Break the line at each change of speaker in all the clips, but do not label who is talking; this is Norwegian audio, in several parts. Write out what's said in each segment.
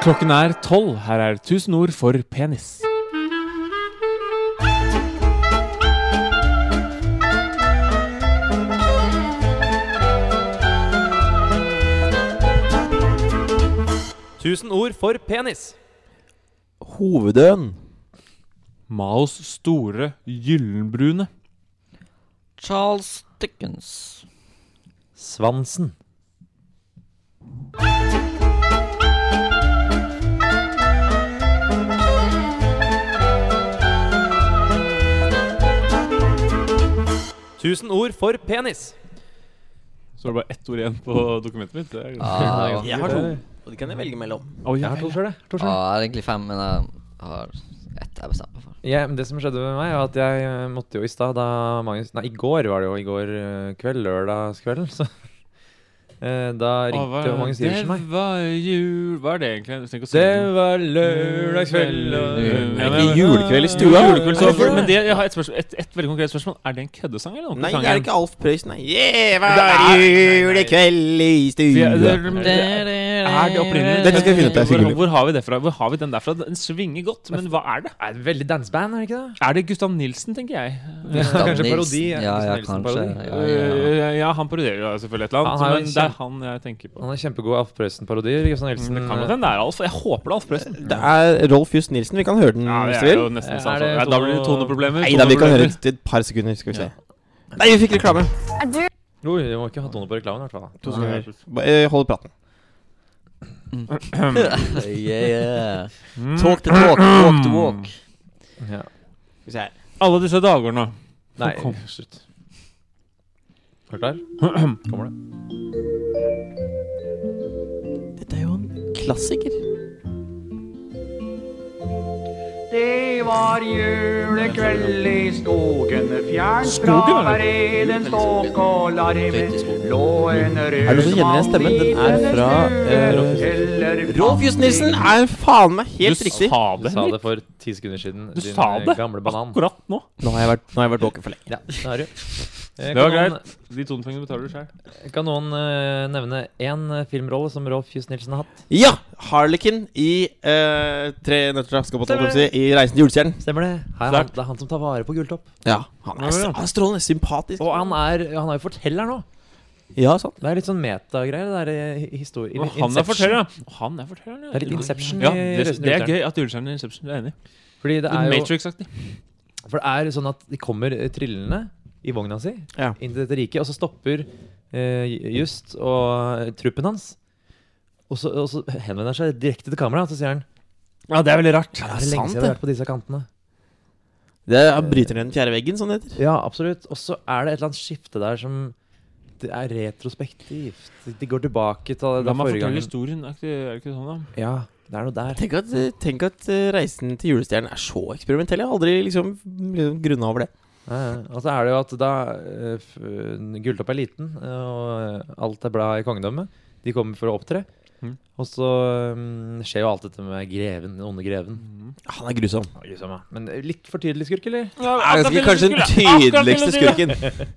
Klokken er tolv. Her er 1000 ord for penis.
Tusen ord for penis.
Hovedøen.
Maos store, gyllenbrune.
Charles Dickens.
Svansen. Tusen ord for penis.
Så er det bare ett ord igjen på dokumentet mitt. Det er
Ah,
Jeg har to, og de kan jeg velge mellom.
Å,
Jeg
ja,
har to
ja.
sjøl, jeg.
ah,
To selv.
jeg har egentlig fem, men jeg har ett jeg bestemmer meg for.
Ja, men det som skjedde med meg, var at jeg eh, måtte jo i stad da Magnus Nei, i går var det jo. I går eh, kveld. Lørdagskvelden. Så eh, da
Å, hva-
ringte jo Magnus Iversen meg.
Det var jul Hva er det egentlig? Jeg trenger ikke å
Det
synge.
var lørdagskveld og
Ja,
Ikke
men-
julekveld i stua.
Ikke julekveld, så-
Hvorfor eh, det?
Men det, jeg har et, spørsmål, et, et veldig konkret spørsmål. Er det en køddesang eller noe?
Nei, det er ikke Alf Prøysen, nei. Yeah, hva
Det er-
er julekveld i
Ja, det,
stua?
det, er det opprinnelig?
Dette skal vi finne ut, det er
hvor,
sikkert.
hvor har vi det fra? Hvor har vi den derfra? Den svinger godt, men hva er det?
Er det veldig danseband, er det ikke det?
Er det Gustav Nilsen, tenker jeg?
Gustav
Kanskje
Nilsen.
parodi, ja.
Ja, ja,
Gustav
kanskje.
Nilsen-parodi.
Ja, ja, ja.
Eh, ja, han parodierer jo selvfølgelig et eller
Han
annet,
har jo
men
en
det er han jeg tenker på.
Han har Mm. kjempegode Alf Prøysen-parodier. Gustav Nilsen.
Det kan godt hende det er Alf. Jeg håper det er Alf Prøysen.
Det er Rolf Just Nilsen. Vi kan høre den
Ja, det
hvis du
er
vil.
jo nesten
Er
sant.
det
Ja, Da blir det
Tono-
toneproblemer.
Nei da, vi kan høre
toneproblemer.
et et par sekunder, skal vi se. Nei, vi fikk reklame.
Er du
Oi, vi må ikke ha Tone på reklamen, i hvert fall.
To sekunder. Ba- eh, Hold praten.
yeah, yeah.
Mm.
Talk to talk, walk to walk.
Ja.
Skal vi se her.
Alle disse dagordene.
Nei,
Kom.
slutt. Er du klar? Kommer det.
Dette er jo en klassiker.
Det var julekveld i skogen, fjernt
Skogen,
fra
er
hver eden ståk og larven. Lå en rød
Er det noen som kjenner igjen stemmen? Den er fra, eh, Rolf Just Nilsen er faen meg helt
du
riktig.
sa
Du
det.
sa det for ti sekunder siden.
Du
din,
sa
eh,
det
Gamle banan.
akkurat nå.
Nå har jeg vært, nå har jeg vært våken for lenge.
Ja, det har du. Eh,
Det var
kan
greit. De tonefengene betaler du sjøl.
noen- Kan noen eh, nevne én eh, filmrolle som Rolf Just Nilsen har hatt?
Ja! Harlekin i eh, Tre nøtter til Askepott, holdt jeg på å si, i Reisen til julestjernen.
Stemmer det? Her, er han, det er han som tar vare på Gulltopp.
Ja, han er,
Ja, ja.
han er strålende sympatisk.
Og han er, han er jo forteller nå.
Ja, sant.
Det er litt sånn metagreier. Det er eh, hi- historie
Og
in-
han er
Inception.
fortelleren. Og han er fortelleren, ja.
Det er litt Inception
Ja,
i
det,
Reisen til
det er
Julestjernen.
gøy at julestjernen i Inception er enig.
Fordi det
Litt
er jo
Matrix-aktig.
For det er sånn at de kommer eh, trillende i vogna si
Ja.
inn til dette riket, og så stopper eh, Just og eh, truppen hans. Og så, og så henvender han seg direkte til kameraet, og så sier han
Ja, det er veldig rart.
Det
det
er lenge
sant,
siden jeg har
det?
vært på disse kantene.
Det er, bryter ned den fjerde veggen, som det heter.
Ja, absolutt. Og så er det et eller annet skifte der som Det er retrospektivt. De går tilbake til
La
da
meg fortelle
forrige gang.
historien. Er ikke, er det ikke sånn, da?
Ja, det er noe der.
Tenk at, eh, tenk at eh, Reisen til julestjernen er så eksperimentell. Jeg har aldri liksom liksom grunna over det.
Ja, ja. Og så er det jo at da eh, f- Gulltopp er liten, eh, og alt er bra i kongedømmet. De kommer for å opptre.
Mhm.
Og så mm, skjer jo alt dette med greven, den onde greven.
Ja, Han er grusom.
Men det er litt for tydelig skurk, eller?
Er ganske, kanskje den tydeligste skurken.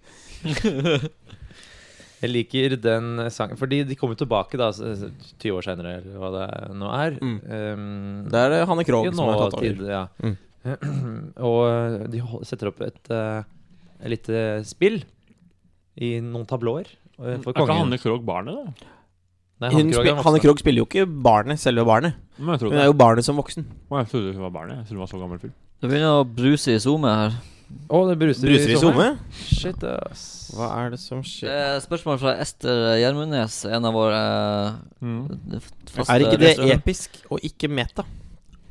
Jeg liker den sangen. Fordi de kommer tilbake da s- s- 20 år seinere, eller hva det er- nå er.
Mm.
Ehm,
Det er det Hanne Krogh
i
som har tatt
nåtid,
over. Mm.
ja. Og eh, de hol- setter opp et eh, et lite eh, spill i noen tablåer eh,
Mm,
for
Er ikke
kongen.
Hanne Krogh barnet, da?
Nei,
Hun
Krogh er
spi-
voksen.
Hanne altså. Krogh spiller jo ikke barnet, selve barnet.
Men jeg
Hun
trodde,
er jo barnet som voksen.
Å, jeg trodde hun var barnet. Jeg trodde hun var så gammel fyr.
Det begynner å bruse i zoomet her.
Å, det bruser,
Bruser i SoMe.
Shit, ass.
Hva er det som
Det
skjer?
er et spørsmål fra Ester Gjermundnes, en av våre eh, f- faste
Er ikke det
lyttere.
episk og ikke meta?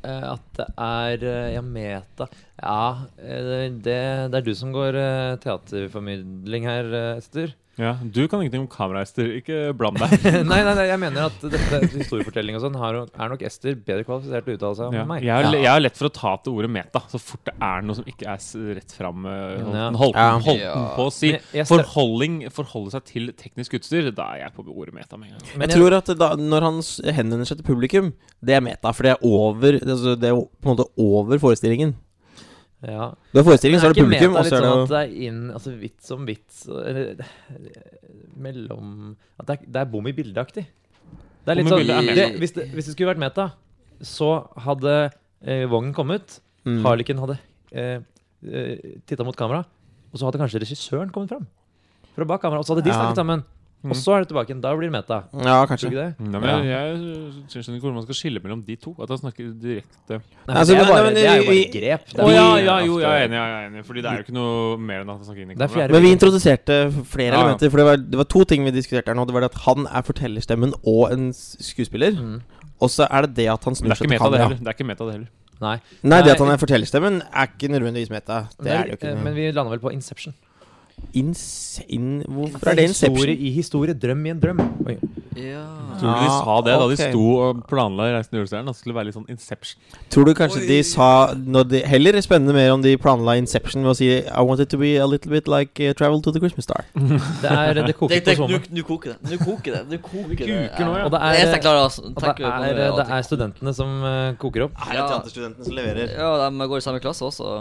Eh, At det er eh, Ja, meta Ja, eh, det, det er du som går eh, teaterformidling her, eh, Ester.
Ja, Du kan ingenting om kameraeister. Ikke bland deg.
nei, nei, nei, jeg mener at dette historiefortelling og sånn har nok- er nok Ester bedre kvalifisert til å uttale seg om
Ja.
enn meg.
Jeg, har, jeg har lett for å ta til ordet meta så fort det er noe som ikke er s- rett fram. eh, Holdt
Ja.
den- holdt den-
Ja.
holdt den
Ja.
på å si.
Men jeg- jeg stem-
Forholding, forholde seg til teknisk utstyr. Da er jeg på ordet meta med en gang.
Men
jeg tror at da, når han s- henvender seg til publikum, det er meta. For det er over altså, Det er jo på en måte over forestillingen.
ja.
Du har forestillingen, så er det
ikke
publikum,
meta
og så er det
sånn
jo
at det er inn Altså vits om vits og- eller, eh, Mellom At det er, det er bom i bildeaktig. Det er litt
Bom i
sånn
bildet
er meta.
det, hvis, det, hvis det skulle vært meta, så hadde eh, Vogn kommet.
Mm.
Harlekin hadde eh, titta mot kamera, og så hadde kanskje regissøren kommet fram. Fra bak kamera, Og så hadde de
Ja.
snakket sammen.
Mm.
Og så er det tilbake igjen. Da blir det meta.
Ja,
Tror
kanskje.
du ikke det?
Nei, men Jeg syns ikke hvordan man skal skille mellom de to. At han snakker direkte
Nei,
Altså,
men det, er
men-
bare,
men
det er jo bare
vi-
grep. Det
Å
er
ja,
bare-
ja, jo, jeg er enig. jeg er enig Fordi det er jo ikke noe mer enn at han snakker inn i
Det er
kamera.
fjerde
Men vi introduserte flere
Ja, ja.
elementer. For det var, det var to ting vi diskuterte her nå. Det var det at han er fortellerstemmen og en s- skuespiller.
Mm.
Og så er det det at han
Men
snur
det er ikke
seg til
meta, det
kamera.
heller. Det er ikke meta, det heller.
Nei.
Nei, det at
Nei.
han er fortellerstemmen, er ikke nødvendigvis meta. Det er det jo ikke.
Men vi lander vel på Inception.
Insane Hvorfor er det
Historie
Inception?
i historie. Drøm i en drøm. Oi.
E?
Ja.
Tror du de sa det da de
ok.
sto og planla Reisen til julestjernen? At det skulle være litt sånn Inception.
Tror du kanskje de sa når de, Heller spennende mer om de planla Inception ved å si I want it to be a little bit like eh, Travel to the Christmas Star.
Det er det koker
Tenk, tenk,
på
nu,
sommeren.
nu koker det. Nu koker det. Nu koker det.
kuker nå, ja.
Og det
Det eneste
er,
jeg klarer, altså.
og det er, eh, det er studentene som eh, koker opp.
Her er
teaterstudentene som leverer.
Ja, de går i samme klasse også.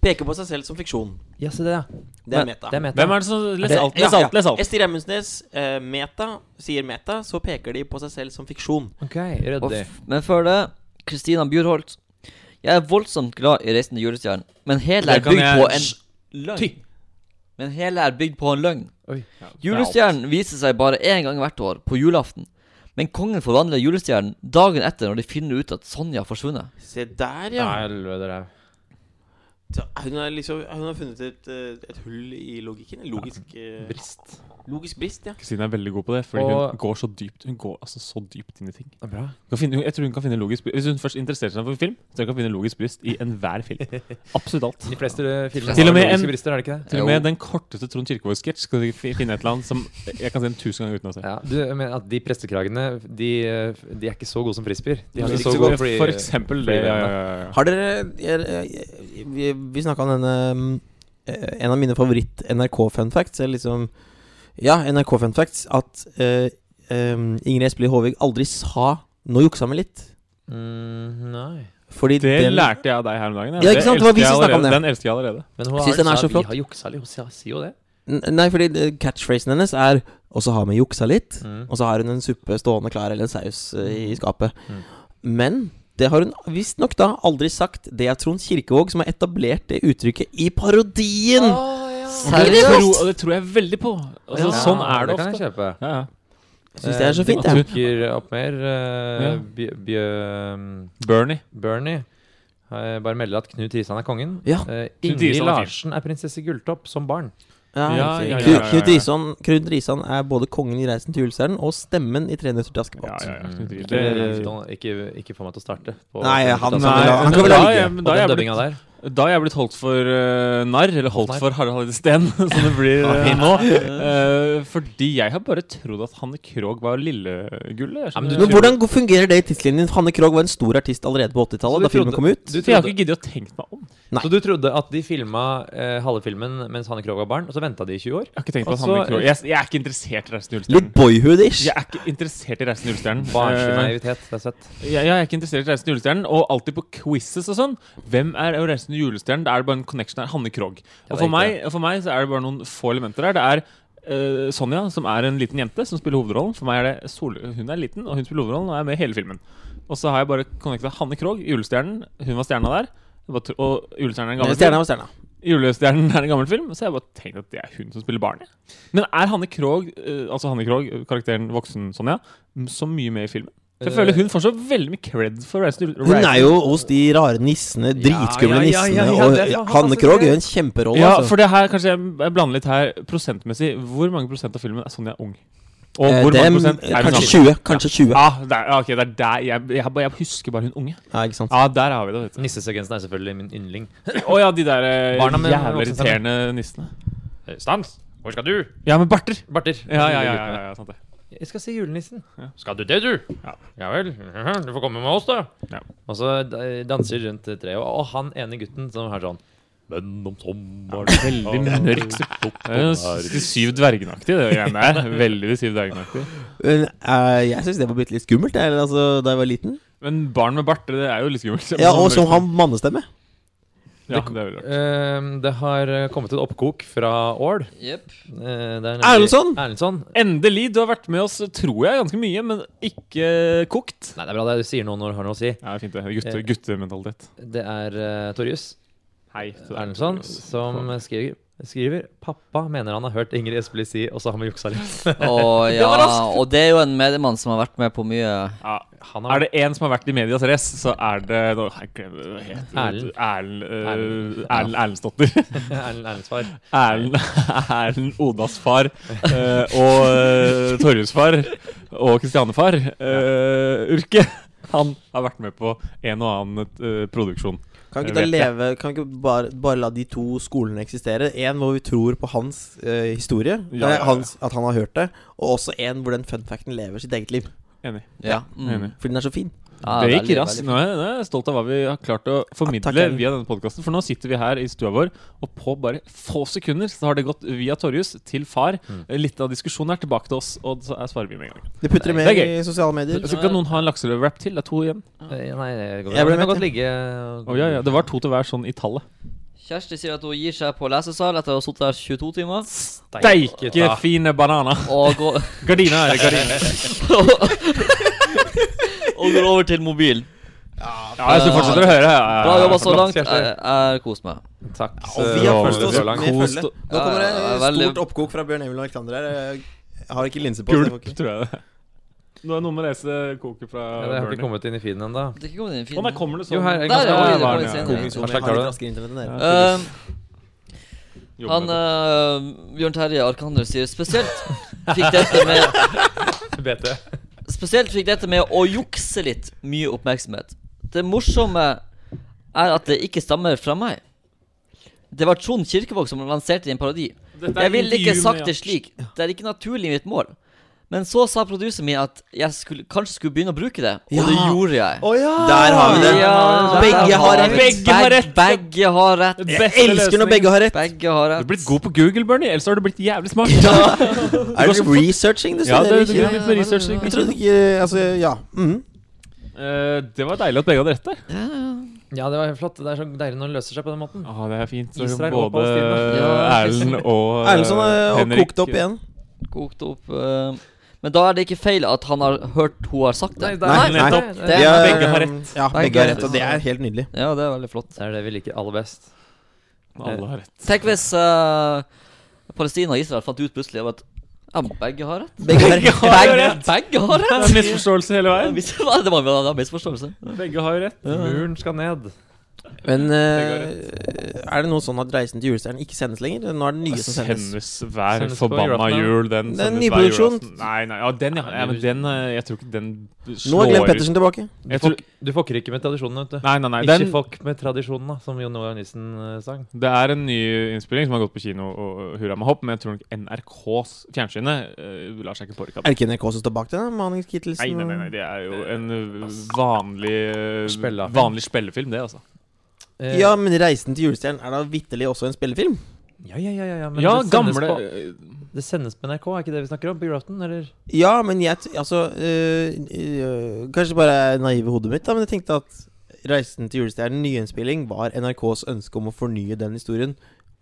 Peker på seg selv som fiksjon.
Ja, se det, ja.
Det er
Men-
meta.
Det er meta.
Hvem er det som Les alt, les alt, les alt.
Ester Emmundsnes, eh, meta, sier meta, så peker de på seg selv som fiksjon.
Ok,
Og
ryddig.
f men før det, Kristina Bjurholt. Jeg er voldsomt glad i Reisen til julestjernen, men hele er
Det kan
bygd
jeg-
på en løgn. Men hele er bygd på en løgn.
Oi.
Julestjernen viser seg bare én gang hvert år, på julaften. Men kongen forvandler julestjernen dagen etter når de finner ut at Sonja har forsvunnet.
Se der, ja.
Helvete, det er-
Så Hun har, liksom, hun har funnet et, eh, et hull i logikken. En Logisk, eh,
Brist.
logisk brist, ja.
Kristine er veldig god på det, fordi
Og-
hun går så dypt Hun går altså så dypt inn i ting.
Det er bra.
Hun Kan finne, jeg tror hun kan finne logisk bryst Hvis hun først interesserer seg for film, så hun kan finne logisk bryst i enhver film. Absolutt alt.
De fleste eh, filmer
Til og
har
med
logiske
en-
brister, er det ikke det?
Til og med den korteste Trond Kirkevåg-sketsj skal du fi- finne et eller annet som jeg kan se en tusen ganger uten å se.
Ja, du mener at de prestekragene de, eh, de er ikke så gode som frisbeer? De
For
Det
er ikke
er
så
så
gode
eksempel-
fordi
for eksempel det.
fordi-
Ja, ja, ja, ja.
Har dere jeg, jeg, Vi, vi snakka om denne mm, eh, En av mine favoritt-NRK-fun facts er liksom Ja, NRK-fun facts at eh, em, Ingrid Espelid Håvig aldri sa 'nå juksa vi litt'.
Mm, nei.
Fordi
Det
den-
lærte jeg av deg her om dagen.
Ja, ikke sant? Det
elsker
var vi som
jeg
snakket om
allerede.
det.
Den elsker jeg allerede.
Men hun
Jeg
har
synes den er
sagt,
så flott.
Vi har juksa litt, hun sier sier jo det.
N- Nei, fordi eh, catchphrasen hennes er 'og så har vi juksa litt'.
Mm.
Og så har hun en suppe stående klar, eller en saus eh, i skapet.
Mm.
Men det har hun visstnok da aldri sagt. Det er Trond Kirkevåg som har etablert det uttrykket i parodien!
Og det
Seriøst?
tror- og det tror jeg veldig på. Altså,
Ja,
sånn er det
Det kan
ofte.
jeg kjøpe.
Ja, ja.
Jeg syns det
Eh,
er så fint, jeg.
jeg. Dukker opp mer. eh,
Ja.
Bjø- Bjø-
Bernie.
Bernie. eh, Bare melder at Knut Risan er kongen.
Ja.
Eh,
Knut
Ingrid
Risan er fin.
Larsen er prinsesse Gulltopp som barn.
Ja,
Ja,
riktig.
ja, ja,
Knut-
ja, ja.
Knut Risan Knut Risan er både kongen i 'Reisen til julestjernen' og stemmen i 'Tre nøtter til
Ja,
Askepott'.
ja, ja.
Mm.
Det-
Ikke, ikke, ikke få meg til å starte. På
Nei, han-
Og
kan vel ha- eh, han kan
men
vel ha
da er
ligget.
jeg- men da
den
er jeg blitt-
dubbinga der.
Da er jeg blitt holdt for eh, narr, eller holdt
Narr.
for Harald Heide Steen, som det blir eh, nå. Eh, fordi jeg har bare trodd at Hanne Krogh var Lillegullet. jeg
Ja, men
skjønner.
Men hvordan går- fungerer det i tidslinjen? Hanne Krogh var en stor artist allerede på
Så
80-tallet,
du
Altså,
da filmen
trodde-
kom ut.
For
du
jeg har
trodde-
ikke giddet å tenke meg om. Jeg
Nei.
Så du trodde at de filma eh, halve filmen mens Hanne Krogh var barn, og så venta de i 20 år?
har ikke tenkt på
Og
at Hanne
så-
Krogh jeg, jeg er ikke interessert i Reisen til julestjernen.
Litt boyhood-ish.
Jeg er ikke interessert i Reisen til julestjernen.
Barnslig
Eh,
naivitet. Det er søtt.
jeg, jeg er ikke interessert i Reisen til julestjernen, og alltid på quizzes og sånn. Hvem er Reisen til julestjernen? Da er det bare en connection her. Hanne Krogh.
Ja, det er
Og for
ikke
meg, for meg så er det bare noen få elementer der. Det er eh, Sonja, som er en liten jente, som spiller hovedrollen. For meg er det Sol Hun er liten, og hun spiller hovedrollen og er med i hele filmen. Og så har jeg bare connecta Hanne Krogh, julestjernen. Hun var stjerna der. Jeg bare tro- Og julestjernen er en
Nei,
gammel
Stjerna
film.
var stjerna.
Julestjernen er en gammel film, så jeg bare tenkte at det er hun som spiller barnet. Men er Hanne Krogh, eh, altså Hanne Krogh, karakteren voksen Sonja, m- så mye med i filmen? For jeg føler hun får så veldig mye cred for Reisen til
Eh, Hun er
Reisen-
jo hos de rare nissene, dritskumle
ja, ja, ja, ja, det er
nissene.
så
Og Hanne
fantastisk
Krogh
gøy.
gjør en kjemperolle.
Ja,
altså.
for det her, kanskje jeg jeg blander litt her prosentmessig. Hvor mange prosent av filmen er Sonja ung? Og
Eh,
hvor
dem-
mange prosent er hun
Kanskje
gammel?
20. Kanskje 20.
Ja, der, ja, ok, det er der jeg, jeg, bare- jeg husker bare hun unge.
Ja, ikke sant.
Ja, der har vi det. vet du.
Nissesekvensen er selvfølgelig min yndling.
Å ja, de der eh,
Barna med
jævla
voksen stemme.
irriterende nissene.
Stans! Hvor skal du?
Ja, med barter!
Barter.
Ja, ja, ja, ja, ja sant det.
Jeg skal se julenissen.
Skal du det, du? Ja, vel. Du får komme med oss, da.
Og så eh, danser rundt treet. Og, og han ene gutten som har sånn Men om sommeren
Veldig mørkt. Det er jo De syv dvergenaktig, det greiene der. Veldig de syv dvergenaktig.
Men, eh, jeg syns det var bitte litt skummelt jeg, altså, da jeg var liten.
Men barn med barter, det sånn er jo litt skummelt.
Ja, Og som har mannestemme.
Ja, det er veldig rart.
Ehm, det har eh, kommet et oppkok fra Ål.
Jepp.
Eh, det er nemlig-
Erlendsson?
Erlendsson.
Endelig! Du har vært med oss, tror jeg, ganske mye, men ikke kokt.
Nei, det er bra det du sier noe når du har noe å si.
Ja, det er fint, det.
Eh.
Gutte, guttementalitet.
Det er uh, Torjus
Hei. til deg,
Erlendsson
Torjus.
som skriver, skriver Pappa mener han har hørt Ingrid Espelid si, og så har vi juksa litt.
Og, ja, og det er jo en mediemann som har vært med på mye
Ja.
Han har
Er det én som har vært i medias race, så er det nå, jeg glemmer hva det heter.
Erlend.
Erlend eh,
Erlend.
Erlend Erlendsdotter.
Erlend Erlends far.
Erlend, Erlend Odas far eh, og uh, Torjus far og Kristiane far, eh, Urke, han har vært med på en og annen eh, produksjon.
Kan
Jeg
ikke, da
vet det.
leve, kan ikke bare, bare la de to skolene eksistere? En hvor vi tror på hans eh, historie,
Ja, ja, ja.
eh, Hans, at han har hørt det. Og også en hvor den fun facten lever sitt eget liv.
Enig.
Ja. Mm.
Enig.
Fordi den er så fin.
Ja,
det gikk
veldig,
raskt.
veldig.
Nå, er jeg- nå er jeg stolt av hva vi har klart å formidle
takk, Erlend.
via denne podkasten. For nå sitter vi her i stua vår, og på bare få sekunder så har det gått via Torjus til far. Eh, Litt av diskusjonen er tilbake til oss, og så er svarer vi med en gang.
Du putter det
Det
med
er gøy.
i sosiale medier.
Så kan noen ha en lakserøverwrap til. Det er to igjen.
Eh, Nei, det
Jeg ble
går bra. Den kan
med
godt ligge
Å, ja, ja. Det var to til hver sånn i tallet.
Kjersti sier at hun gir seg på lesesal etter å ha sittet der 22 timer.
Deike fine bananer!
Og går,
Gardina er det, gardina.
og går over til mobil.
Ja, hvis du fortsetter å høre ja, ja, ja.
Bra jobba så
Flott.
langt. Jeg jeg har kost meg.
Takk.
Og vi har
Ja,
kost oss
det er
med
langt.
følge.
Kost-
Nå kommer det
Ja, veldig-
stort oppkok fra Bjørn Emil og Alexander her. Jeg har ikke linse på. så jeg får
Gulp,
ikke-
tror jeg det. Nå er noe med å lese koket fra
Ja, det har ikke kommet inn i feeden ennå.
Det er ikke kommet inn i
Å,
feeden.
nei, kommer det sånn?
Jo, her
Der,
er
Ja,
ja, det
var den,
kommer litt
ja.
senere.
Kokingsone
Hva slags
har
er
litt
det?
raskere internett enn dere.
Ehm,
Jobber
han
med det.
eh, Bjørn Terje Arkander sier spesielt fikk dette med
BT.
Spesielt fikk dette med å jukse litt mye oppmerksomhet. Det morsomme er at det ikke stammer fra meg. Det var Trond Kirkevåg som lanserte en parodi.
Dette er
Jeg ville ikke
intervju
sagt
med-
det slik. Det er ikke naturlig i mitt mål. Men så sa produseren min at jeg skulle, kanskje skulle begynne å bruke det, og
Ja.
det gjorde jeg.
Ah,
Der har vi det.
Ja,
Begge har rett.
Begge har rett.
Begge har rett.
Det
Jeg
beste
elsker når
løsningen.
begge har rett.
Begge har
Du er
rett.
blitt god på Google, Bernie, ellers har du blitt jævlig smart.
Er det researching du
Ja,
studerer?
det, det,
ikke?
det, det, research,
Jeg
ikke?
trodde ikke Altså, ja. Mhm.
Eh, det var deilig at begge hadde rett der.
Ja, det var flott. Det er så deilig når det løser seg på den måten.
Ah, det er fint. Så
Israel og
både
Palestina.
Ja.
Erlend og eh,
Erlendsson har
Henrik- eh,
kokt opp igjen.
Kokt opp. eh, Men da er det ikke feil at han har hørt hun har sagt det.
Nei, nei.
nettopp.
Det
Vi
er,
er-
begge har rett.
Ja,
Begge
begge har
har
rett, og det er helt nydelig.
ja, det er veldig flott.
Det er det vi liker aller best.
Alle har rett.
Tenk hvis eh, Palestina og Israel fant ut plutselig at ja, men begge har rett.
Begge har rett.
har
Begge,
rett.
begge har
Det
rett!
er misforståelse hele
Ja,
veien.
hvis- Det var det var- det var en misforståelse.
Begge har jo rett.
Muren skal ned.
Men
Begge har
eh, er det noe sånn at Reisen til julestjernen ikke sendes lenger? Nå er det nye som sendes.
Sendes Altså, hver
Sendes på
forbanna
julaften.
jul. Den
Det er en
sendes hver
nyproduksjon.
julaften. Nei, nei, ja, den, ja. ja men den eh, Jeg tror ikke den
Nå er Glenn
slår
Pettersen tilbake.
Du,
Jeg tror-
fuck- du fucker ikke med tradisjonen, vet du.
Nei, nei, nei.
Ikke
Den,
fuck med tradisjonen, da, som Jon Ola Nissen eh, sang.
det er en ny innspilling som har gått på kino, og og hurra med hopp, men jeg tror nok NRKs fjernsynet eh, lar seg ikke påvirke av
Er
det.
det sånn- ikke NRK som står bak det? da? Manings Kittelsen?
Nei, nei, nei, nei, det er jo en eh, vanlig eh,
Spellefilm.
Vanlig spillefilm, det, altså.
Eh,
Ja, men Reisen til julestjernen er da vitterlig også en spillefilm?
ja, ja, ja, ja, ja, men
ja,
det sendes
gamle
på, Det sendes på NRK, er ikke det vi snakker om? På julaften, eller?
Ja, men jeg t- Altså øh, øh, Kanskje bare er naiv i hodet mitt, da, men jeg tenkte at Reisen til julestjernen nyinnspilling var NRKs ønske om å fornye den historien.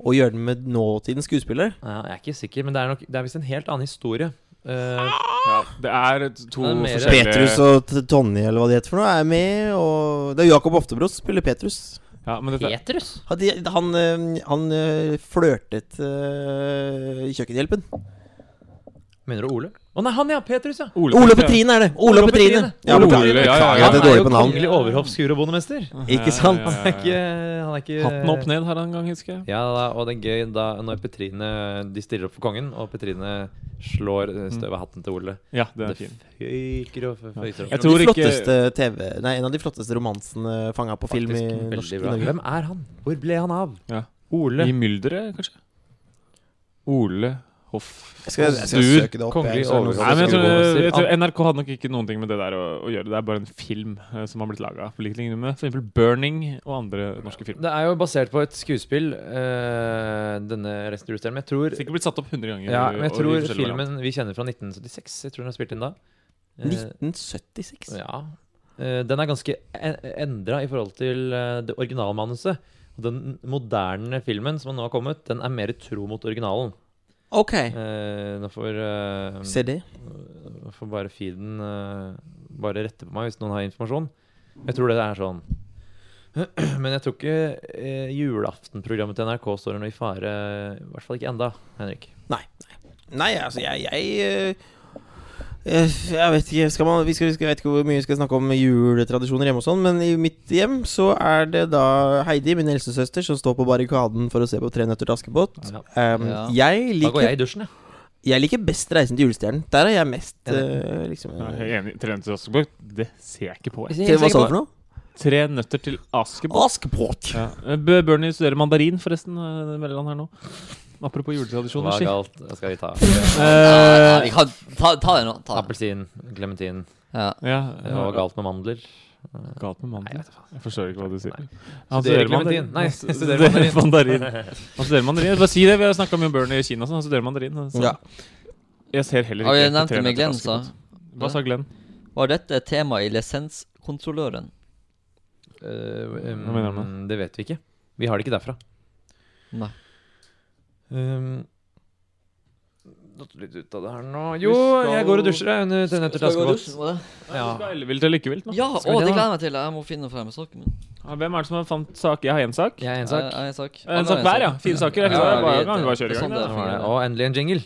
Og gjøre den med nåtidens skuespiller.
Ja, jeg er ikke sikker, men det er, nok, det er visst en helt annen historie. Eh,
ja, Det er to
Det er mer-
forskjellige
Petrus og T- Tonje, eller hva det heter for noe, er med. Og det er Jakob Oftebro som spiller Petrus.
ja, men dette,
Petrus?
Han, han, øh, han øh, flørtet øh, kjøkkenhjelpen.
Mener du Ole? Å nei, han ja! Petrus, ja!
Ole Petrine er det! Ole
Ole
Petrine.
Petrine.
Ja,
Ole
beklager.
Petrine, ja, ja, ja.
Beklager at jeg er
han er
dårlig
jo
på navn.
kongelig overhoffskur og bondemester.
Ikke sant?
Ja,
Han er
ja,
ikke,
ja, ja.
han er ikke
Hatten opp ned her en gang, husker jeg.
Ja, da, og det er gøy da når Petrine De stiller opp for kongen, og Petrine slår eh, støv av hatten til Ole.
Ja, Mm. det
Det
er fint.
føyker og
Jeg
føyser.
En av
tror
de
ikke
flotteste TV Nei, en av de flotteste romansene fanga på film i
Faktisk
norsk
veldig
i
bra.
Norge.
Hvem er han? Hvor ble han av?
Ja.
Ole.
I mylderet, kanskje? Ole Hoff
Jeg skal, jeg skal
Stur.
søke det opp.
Kongelig
jeg, så er det noen som-
Nei, men jeg
Skulle
tror,
gå
jeg
og si-
tror NRK hadde nok ikke noen ting med det der å, å gjøre. Det er bare en film eh, som har blitt laga. På lik linje med for eksempel Burning og andre norske filmer.
Det er jo basert på et skuespill, eh, denne resten av men jeg tror,
Sikkert blitt satt opp 100 ganger.
ja, men jeg
og i
tror
forskjellige varianter.
filmen vi kjenner fra 1976, jeg tror den er spilt inn da. Eh,
1976.
e-, Ja. Eh, Den er ganske en- endra i forhold til eh, det originalmanuset. Og den moderne filmen som nå har kommet, den er mer tro mot originalen.
Ok.
Eh, nå får, eh,
Se det.
nå får bare feeden eh, bare rette på meg hvis noen har informasjon. Jeg tror det er sånn. Men jeg tror ikke eh, julaftenprogrammet til NRK står noe i fare. I hvert fall ikke enda, Henrik.
Nei. Nei, altså, jeg Jeg, eh, eh, jeg vet ikke skal man, vi skal, vi skal, Jeg vet ikke hvor mye vi skal snakke om juletradisjoner hjemme og sånn, men i mitt hjem så er det da Heidi, min helsesøster, som står på barrikaden for å se på Tre nøtter til Askepott.
Ja.
Um,
Ja.
jeg,
Da går
liker,
jeg i dusjen, jeg.
jeg liker best Reisen til julestjernen. Der er jeg mest
Ja, det-
eh, liksom
Jeg er helt enig. Tre nøtter til Askepott, det ser jeg ikke på. Jeg.
Tre- Hva sa du for noe?
Tre nøtter til Askepott.
Askepott!
Ja. Eh, Bør Bernie studere mandarin, forresten? eh, Melland her nå. Apropos
Hva
juletradisjoner.
er
si.
galt? Hva Skal vi ta
Ja, ja,
Eh,
vi kan ta, ta det nå. Ta det.
appelsin, klementin?
Ja.
ja,
Hva var galt med mandler?
galt med
Nei,
mandel?
jeg vet da faen.
Jeg forstår ikke hva du sier.
Nei.
Han
Studerer
studerer mandarin.
klementin. Nei,
Han
studerer
studerer mandarin. Han studerer mandarin. Bare si det. Vi har snakka mye om Bernie i Kina. og Sånn. Han studerer mandarin. Så.
Ja.
Jeg ser heller
Har
ikke
vi
på
nevnt
Tre
det med
nøtter til
Glenn, sa?
Askepott. Hva sa Glenn?
Var dette et tema i lisenskontrolløren?
Eh, um,
Hva mener du med
det vet vi ikke. Vi har det ikke derfra.
Nei.
Um, Datt litt ut av det her nå Jo, jeg går og dusjer jeg, under Tre nøtter til Askepott.
Ja.
Ja.
Ellevilt eller ikke vilt? nå?
Ja, å,
Skal vi
det
det, da?
gleder jeg meg til. Jeg må finne frem sokken min.
Ja, Hvem er det som har fant sak? Jeg har én sak.
Jeg er en
Jeg-
sak.
jeg har En sak
En sak hver, ja. Fire saker. Jeg
Ja,
klarer
vi-
bare, kan vi bare
det
kjøre
er
i gang.
sånn
da.
det er.
Og endelig en jingle.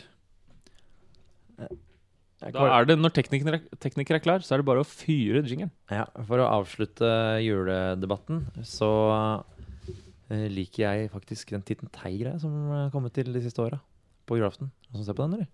Da er det, når tekniker, tekniker er klar, så er det bare å fyre jingeren.
Ja, for å avslutte juledebatten, så eh, liker jeg faktisk den Titten Tei-greia som har kommet til de siste åra. På julaften. Noen som ser på den, eller?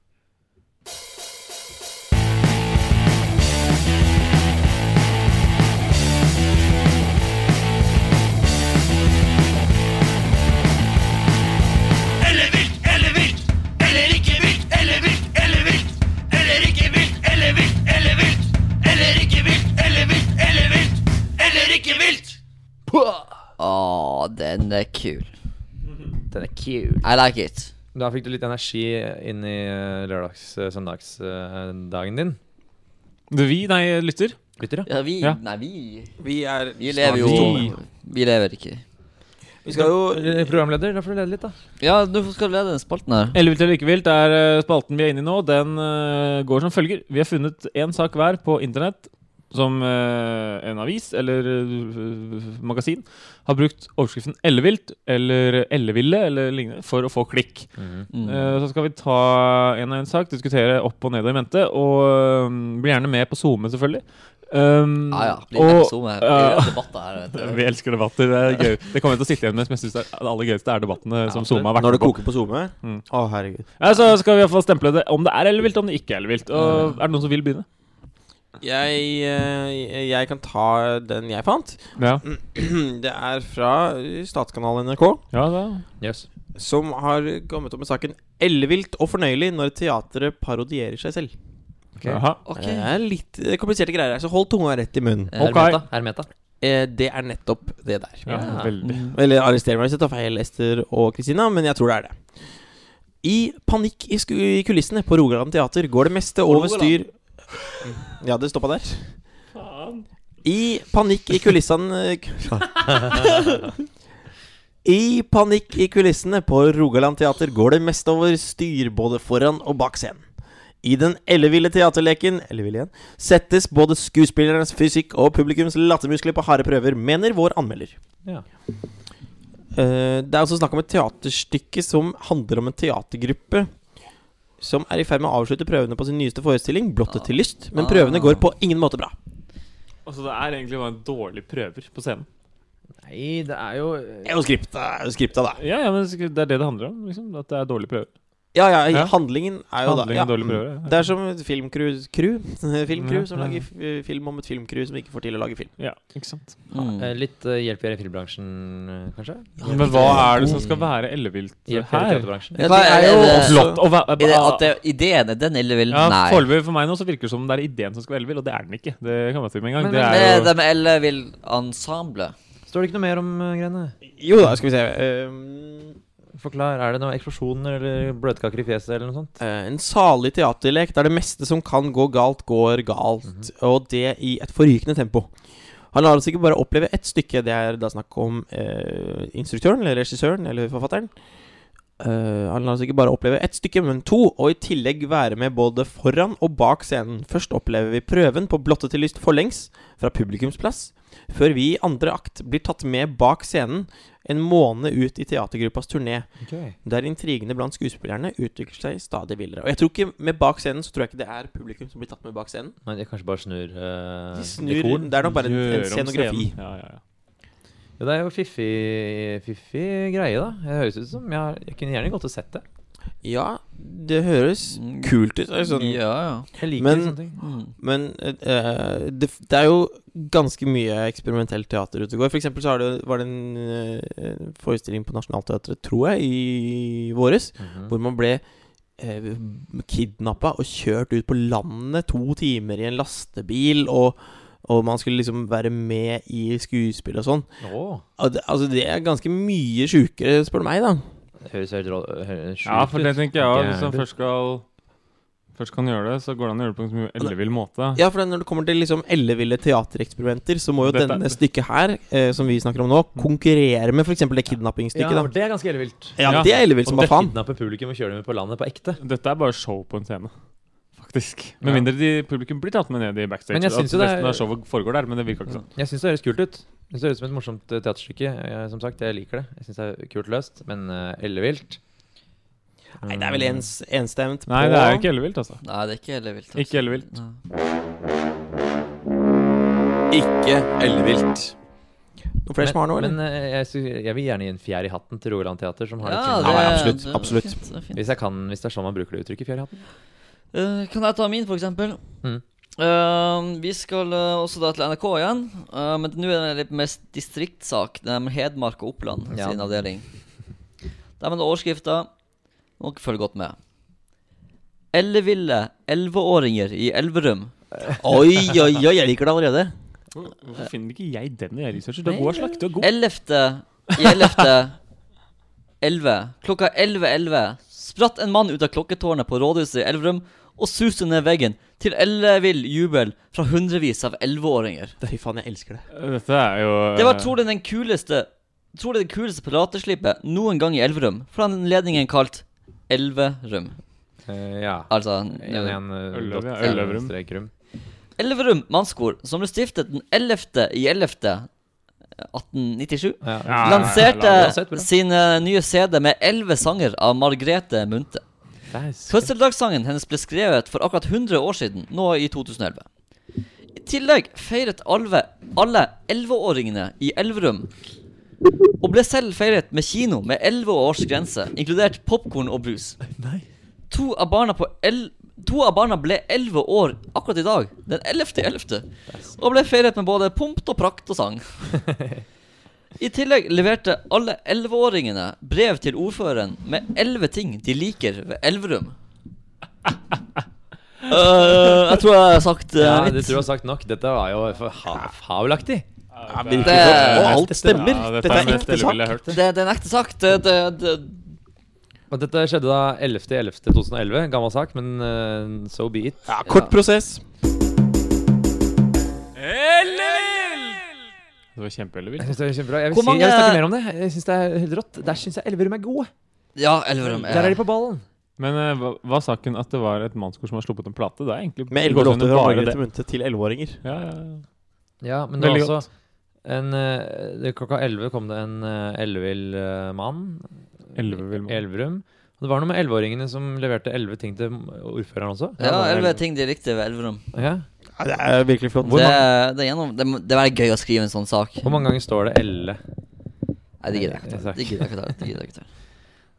Å, den er kul.
Den er cute.
I like it.
Da fikk du litt energi inn i eh, lørdags-søndagsdagen eh, din.
Du, vi, nei, lytter.
Lytter, ja.
Ja, vi
Ja.
Nei, vi
Vi er
Vi lever
vi.
jo Vi lever ikke.
Vi skal jo
Eh, Programleder, da får du lede litt, da.
Ja, nå skal du lede den spalten her.
Ellevilt eller ikke vilt er eh, spalten vi er inne i nå. Den eh, går som følger. Vi har funnet én sak hver på internett som eh, en avis eller eh, magasin har brukt overskriften 'ellevilt' eller 'elleville' eller lignende for å få klikk.
Mhm.
Mm.
Eh, Så skal vi ta en og en sak, diskutere opp og ned og i mente. Og um, bli gjerne med på SoMe, selvfølgelig. Um,
Ah, Ja, ja. Bli med på
og- eh,
Zoom her.
ja.
Blir det debatter her vet du.
Vi elsker debatter. Det er gøy. Det kommer jeg til å sitte igjen med som jeg synes er det aller gøyeste, er debattene som SoMe har vært
Når det
med på.
koker på SoMe? Å,
Mm.
herregud.
Ja, så skal vi i hvert fall stemple det om det er ellevilt, om det ikke er ellevilt. Og er det noen som vil begynne?
Jeg, eh, jeg kan ta den jeg fant.
Ja,
Det er fra eh, statskanalen NRK,
ja da.
Yes.
som har kommet opp med saken 'Ellevilt og fornøyelig når teatret parodierer seg selv'.
Jaha.
Ok.
Det er litt eh, kompliserte greier her, så hold tunga rett i munnen.
Ok.
Hermeta. Hermeta.
Eh, Det er nettopp det der. Mm.
Ja,
Ja.
veldig.
Eller arrester meg hvis jeg tar feil, Ester og Kristina, men jeg tror det er det. I panikk i, sku i kulissene på Rogaland Teater går det meste over styr Ja, det stoppa der. I panikk i kulissene eh, I panikk i kulissene på Rogaland Teater går det meste over styr både foran og bak scenen. I den elleville teaterleken elleville igjen, settes både skuespillernes fysikk og publikums lattermuskler på harde prøver, mener vår anmelder.
Ja.
Eh, det er også snakk om et teaterstykke som handler om en teatergruppe som er i ferd med å avslutte prøvene på sin nyeste forestilling, 'Blottet til lyst', men prøvene går på ingen måte bra.
Altså, det er egentlig bare en dårlig prøver på scenen.
Nei, det er jo eh,
Det er jo skripta, skripta da.
Ja, ja, men det er det det handler om. liksom, At det er dårlig prøver.
Ja, ja,
Ja.
handlingen er jo
Handlingen
da ja.
dårlig prøver, ja.
Det er som et filmcrew crew, filmcrew
Ja,
som
ja.
lager f- eh, film om et filmcrew som ikke får til å lage film.
Ja, ikke sant.
Mm.
eh, litt eh, hjelp gjør i filmbransjen, eh, kanskje?
Men hva er det som skal være ellevilt
Hjelp gjør i
her?
teaterbransjen.
Hva er det-
Blått og væ-
Er det at det, ideen er den eller vil?
Ja,
Nei.
Foreløpig for meg nå så virker det som det er ideen som skal være ellevill, og det er den ikke. Det kan man si med en gang.
Men-
Det
Det
er
er
jo
de eller vil ensemble.
Står det ikke noe mer om eh, greiene?
Jo da, skal vi se eh,
Forklar. Er det noen eksplosjoner eller bløtkaker i fjeset eller noe sånt?
Eh, En salig teaterlek der det meste som kan gå galt, går galt. Og det i et forrykende tempo. Han lar oss ikke bare oppleve ett stykke, det er da snakk om eh, instruktøren, eller regissøren, eller forfatteren. Eh, han lar oss ikke bare oppleve ett stykke, men to, og i tillegg være med både foran og bak scenen. Først opplever vi prøven på Blotte til lyst forlengs, fra publikumsplass, før vi i andre akt blir tatt med bak scenen en måned ut i teatergruppas turné, der intrigene blant skuespillerne utvikler seg stadig villere. Og jeg tror ikke med bak scenen så tror jeg ikke det er publikum som blir tatt med bak scenen.
Nei, de kanskje bare snur eh,
De snur,
dekoren.
det er nok bare en, en
Gjøre om
scenografi.
scenen. Ja, ja, ja.
Ja, det er jo fiffig, fiffig greie, da. Det høres ut som jeg, jeg kunne gjerne godt ha sett det.
Ja, det høres
Mm.
kult ut. Altså, sånn.
Ja, ja.
Jeg liker
Men-
sånne ting.
Mm.
Men eh, det, det er jo ganske mye eksperimentelt teater ute og går. For eksempel så har det, var det en eh, forestilling på Nationaltheatret, tror jeg, i våres,
Mhm.
hvor man ble eh, kidnappa og kjørt ut på landet to timer i en lastebil, og, og man skulle liksom være med i skuespill og sånn.
Åh,
Og det- Altså, det er ganske mye sjukere, spør du meg, da.
det høres helt rå- høres
ja,
sjukt
for det
ut.
tenker jeg også, Hvis
Gæren.
han først skal Først kan gjøre det, så går det an å gjøre det på en så mye ellevill måte.
Ja, for når det kommer til liksom elleville teatereksperimenter, så må jo
Dette er- Mm.
denne stykket her, eh, som vi snakker om nå, konkurrere med f.eks. det
Ja,
kidnappingsstykket.
for
da.
det er ganske ellevilt.
Ja,
Ja.
det er ellevilt
Å
som bare faen.
kidnappe publikum og kjøre dem ut på landet på ekte.
Dette er bare show på en scene, faktisk. Med
Ja.
mindre de, publikum blir tatt med ned i backstage.
Men jeg
at
synes jo det er-
resten av showet foregår der, men det virker ikke sånn.
Jeg syns det høres kult ut. Det høres ut som et morsomt eh, teaterstykke. Jeg, som sagt, jeg liker det. Jeg syns det er kult løst, men eh, ellevilt Mm.
Nei, det er vel ens, enstemt på
Nei, det er jo ikke ellevilt, altså.
Nei, det er ikke heller vilt. altså.
Ikke ellevilt.
Nei.
Ikke ellevilt. Noen flere som har noe, eller?
Men eh, jeg, sy- jeg vil gjerne gi en fjær i hatten til Rogaland Teater, som har
Ja, det,
et fint-
Ja, absolutt,
det-
absolutt.
Det er fint, det er fint.
Hvis jeg kan, hvis det er sånn man bruker det uttrykket, fjær i hatten.
Eh, kan jeg ta min, for eksempel?
Mm.
Eh, vi skal eh, også da til NRK igjen. eh, men nå er det litt mer s- distriktssak. Det er med Hedmark og Oppland
Ja.
sin avdeling. Der med overskrifta Må dere følge godt med. Elleville elleveåringer i Elverum. Oi, oi, oi, jeg liker det allerede.
Hvorfor finner ikke jeg den når jeg researcher? Du er god, Aslak. Du er god.
Ellevte i ellevte elleve. Klokka 11.11 spratt en mann ut av klokketårnet på rådhuset i Elverum og suste ned veggen til ellevill jubel fra hundrevis av elleveåringer.
Fy faen, jeg elsker det.
Eh, Dette er jo eh,
Det var trolig den kuleste Trolig det kuleste pirateslippet noen gang i Elverum, fra anledningen kalt Elverum.
Eh, ja. eh,
Altså
Ølløv, ja. Ølløvrum.
Ellevrum.
Elverum mannskor, som ble stiftet den 11. i 11.
Ja,
1897.
Ja.
Eh, ja, ja,
lanserte
bra.
sin eh, nye CD med elleve sanger av Margrethe Munthe.
Det er s-
Fødselsdagssangen hennes ble skrevet for akkurat 100 år siden, nå i 2011. I tillegg feiret alve, alle elleveåringene i Elverum. Og ble selv feiret med kino med elleve års grense, inkludert popkorn og brus. To av barna, på el to av barna ble elleve år akkurat i dag, den 11.11., og ble feiret med både pompt og prakt og sang. I tillegg leverte alle elleveåringene brev til ordføreren med elleve ting de liker ved Elverum. Øh, jeg tror jeg har sagt eh,
Ja, det
litt.
tror jeg har sagt nok. Dette var jo for ha fabelaktig.
Ja,
det-
virkelig godt. Og
det-
alt stemmer.
Ja,
dette,
er
er
mest
ekte
elleville
sak.
jeg har hørt.
Det, det er en ekte sak. Det, det, det,
Og dette skjedde da 11.11.2011. Gammel sak, men eh, so be it.
Ja, kort prosess.
Det var kjempeellevilt.
Jeg synes det er kjempebra. Jeg vil,
Hvor
si, jeg vil
mange-
snakke mer om det. Jeg synes det er helt rått. Der syns jeg Elverum er gode.
ja, Elverum
Der er
er
de på ballen.
Men eh, hva var saken at det var et mannskor som har sluppet en plate? Det er egentlig
Med
går
elleve
under
låter fra
bare det.
Margrethe Munthe til elleveåringer.
Ja, ja, ja.
Ja, men det var
Veldig
også en, eh, det- Klokka 11 kom det en eh, ellevill eh, mann
Ellevill
i
mann.
Elverum. Og det var noe med elleveåringene som leverte elleve ting til ordføreren også.
Ja, elleve ting de likte ved Elverum.
Ja.
Ja, det er virkelig flott.
Det, det, er gjennom, det, må- det er gøy å skrive en sånn sak.
Hvor mange ganger står det elle?
Nei, det gidder jeg ikke
Nei,
ta. Det gidder jeg ikke ta. Det gidder jeg ikke ta.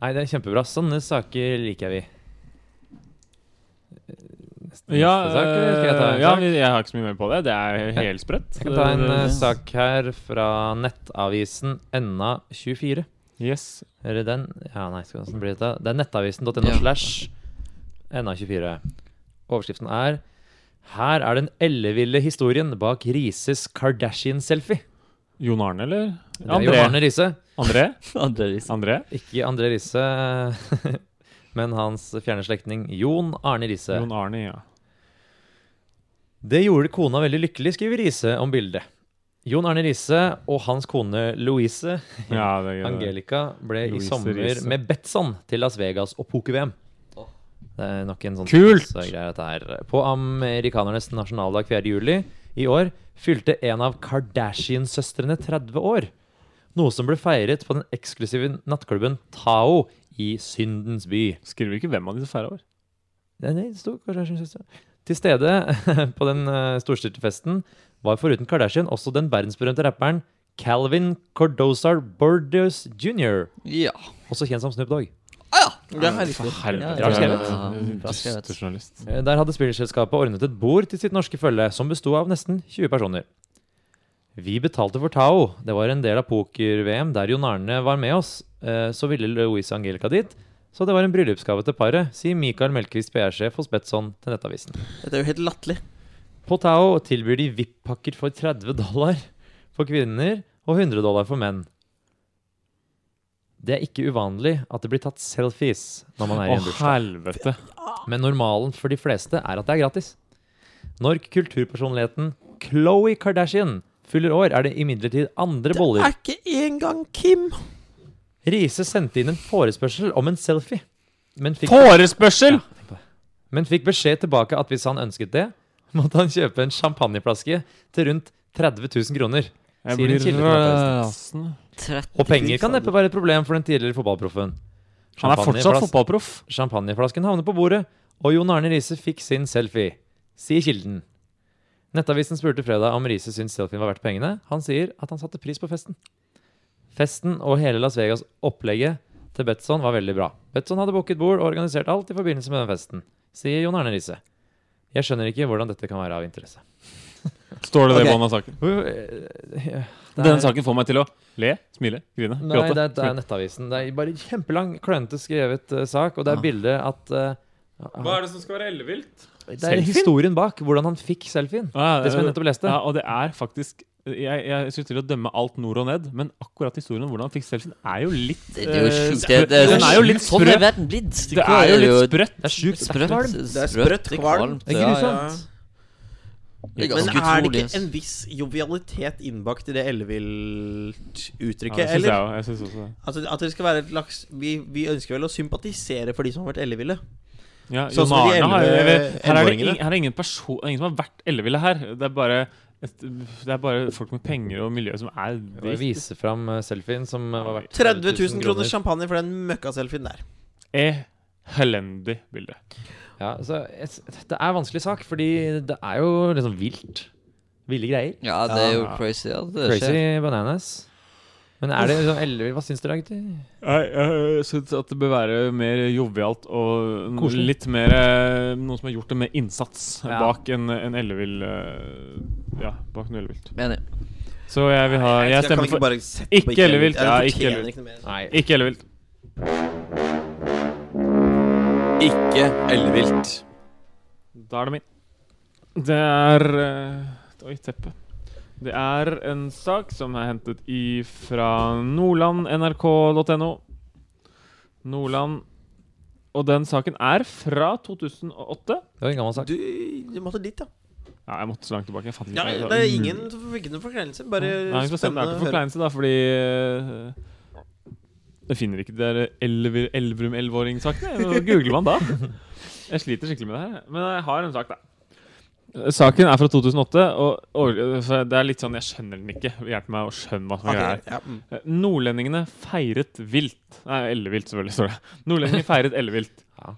Nei, det er kjempebra. Sånne saker liker vi. Neste,
Ja, eh,
neste sak, eller skal jeg ta en
ja,
sak?
vi- jeg har ikke så mye mer på det. Det er helsprøtt.
Jeg kan ta en eh,
Det-
sak her fra nettavisen NA24.
Yes.
Eller den Ja, nei, skal hvordan blir dette? Det er nettavisen.no
Ja.
slash NA24. Overskriften er Her er den elleville historien bak Rises Kardashian-selfie.
Jon Arne, eller?
Det er jo
André?
Arne Riise.
André?
Andre ris.
André?
Ikke André Riise, men hans fjerne slektning Jon Arne Riise.
Jon Arne, ja.
Det gjorde kona veldig lykkelig, skriver Riise om bildet. Jon Arne Riise og hans kone Louise
Ja, det er gøy. det.
Angelica ble i
Louise
sommer
Riise.
med Betson til Las Vegas og poker-VM.
Åh.
Det er nok en sånn
Kult!
så greie dette her. På amerikanernes nasjonaldag 4. juli i år fylte en av Kardashian-søstrene 30 år. Noe som ble feiret på den eksklusive nattklubben Tao i Syndens by.
Skriver ikke hvem av de som feirer år.
Nei, nei, det sto Kardashian-søstre. Til stede på den eh, storstilte festen var foruten Kardashian også den verdensberømte rapperen Calvin Cordozar Bordeaux jr.,
Ja.
også kjent som Snoop Dogg.
Ah,
Ja, riktig.
ja.
Bra skrevet.
Bra skrevet.
Duster journalist.
Eh, Der hadde spillselskapet ordnet et bord til sitt norske følge, som besto av nesten 20 personer. Vi betalte for Tao. Det var en del av poker-VM der Jon Arne var med oss. Eh, Så ville Louise Angelica dit, så det var en bryllupsgave til paret, sier Mikael Melkvist, PR-sjef hos Betson til Nettavisen.
Dette er jo helt latterlig.
På Tao tilbyr de VIP-pakker for 30 dollar for kvinner og 100 dollar for menn. Det er ikke uvanlig at det blir tatt selfies når man er i
Å,
en bursdag.
helvete.
Men normalen for de fleste er at det er gratis. Når kulturpersonligheten Khloé Kardashian fyller år, er det imidlertid andre
Det
boller.
er ikke engang Kim!
Riise sendte inn en forespørsel om en selfie, men fikk,
Forespørsel!
men fikk beskjed tilbake at hvis han ønsket det, måtte han kjøpe en champagneflaske til rundt 30 000 kroner.
Jeg
Sier en
blir
kilde til Nettavisen.
rasen.
30
Og penger kan neppe være et problem for den tidligere fotballproffen.
Han er fortsatt
Champagneflas-
fotballproff.
Champagneflasken havner på bordet, og Jon Arne Riise fikk sin selfie, sier kilden. Nettavisen spurte fredag om Riise syntes selfien var verdt pengene. Han sier at han satte pris på festen. Festen og hele Las Vegas opplegget til Betson var veldig bra. Betson hadde booket bord og organisert alt i forbindelse med den festen, sier Jon Arne Riise. Jeg skjønner ikke hvordan dette kan være av interesse.
Står det det i
Ok.
bånn av saken?
eh, Denne
Denne saken får meg til å le, smile, grine,
Nei,
gråte.
det, er- det er Nettavisen. Det er bare kjempelang, klønete skrevet eh, sak, og det er bilde at eh,
er det som skal være ellevilt?
Det er historien bak hvordan han fikk selfien.
Ah,
Det som jeg nettopp leste.
Ja, og det er faktisk jeg, jeg synes til å dømme alt nord og ned, men akkurat historien om hvordan han fikk selfien, er jo litt
Det, det er jo
eh,
sjukt. Det, det,
Den er jo litt
sånn
sprø.
er verden blitt.
Det er jo litt sprøtt.
Det er sjukt.
sprøtt.
Det er sprøtt, kvalmt.
Det er
ja, ja.
grusomt.
Det er
Men
ganske
er det
utrolig.
ikke en viss jovialitet innbakt i det
Ja,
ellevilt-uttrykket?
det syns jeg
eller?
også, jeg syns også det.
Altså, at det skal være et laks vi, vi ønsker vel å sympatisere for de som har vært elleville.
Ja, Jon
Sånn som de
Arne har jo-
elleve-
her, er det,
elleveåringene.
ing- her er ingen person det er Ingen som har vært elleville her. Det er bare et, Det er bare folk med penger og miljø som er
Vi
dritt.
viser fram eh, selfien som eh, var verdt
30 000 kroner champagne for den møkkaselfien der.
Eh, Elendig bilde.
Ja, så jeg s- det er vanskelig sak, fordi det er jo liksom vilt. Ville greier.
Ja, det er jo
Ja.
crazy. Ja, det skjer.
Crazy bananas. Men er det liksom elleve Hva syns dere, gutter?
Jeg, jeg syns at det bør være mer jovialt og n-
Koselig.
litt mer eh, Noen som har gjort det med innsats
Ja.
bak en, en ellevill eh, Ja, bak noe ellevilt.
Mener.
Så jeg vil ha Jeg
kan
stemmer
ikke
for
bare sette
Ikke
på ikke
ellevilt,
ellevilt.
ja,
Jeg
ikke
fortjener
ellevilt.
ikke noe mer.
Nei.
ikke ellevilt.
Ikke ellevilt.
Da er det min. Det er eh, Oi, teppet. Det er en sak som er hentet i fra nordlandnrk.no. Nordland. Og den saken er fra 2008.
Det var en gammel sak.
Du, du måtte dit, ja.
Ja, jeg måtte så langt tilbake. Jeg fant
ja
ikke
det er ingen som fikk noen forkleinelse. Bare
Mm. Nei, vi får se om det er
spennende
til
å høre.
forkleinelse, da, fordi eh, Jeg finner ikke de der elver, Elverum-elvåring-sakene. Hva googler man da? Jeg sliter skikkelig med det her. Men jeg har en sak, da. Saken er fra 2008, og, og så det er litt sånn Jeg skjønner den ikke. Hjelp meg å skjønne hva som er greia her.
Ok, ja, mm.
Eh, Nordlendingene feiret vilt. Nei, ellevilt, selvfølgelig står det. Nordlendingene feiret ellevilt.
Ja.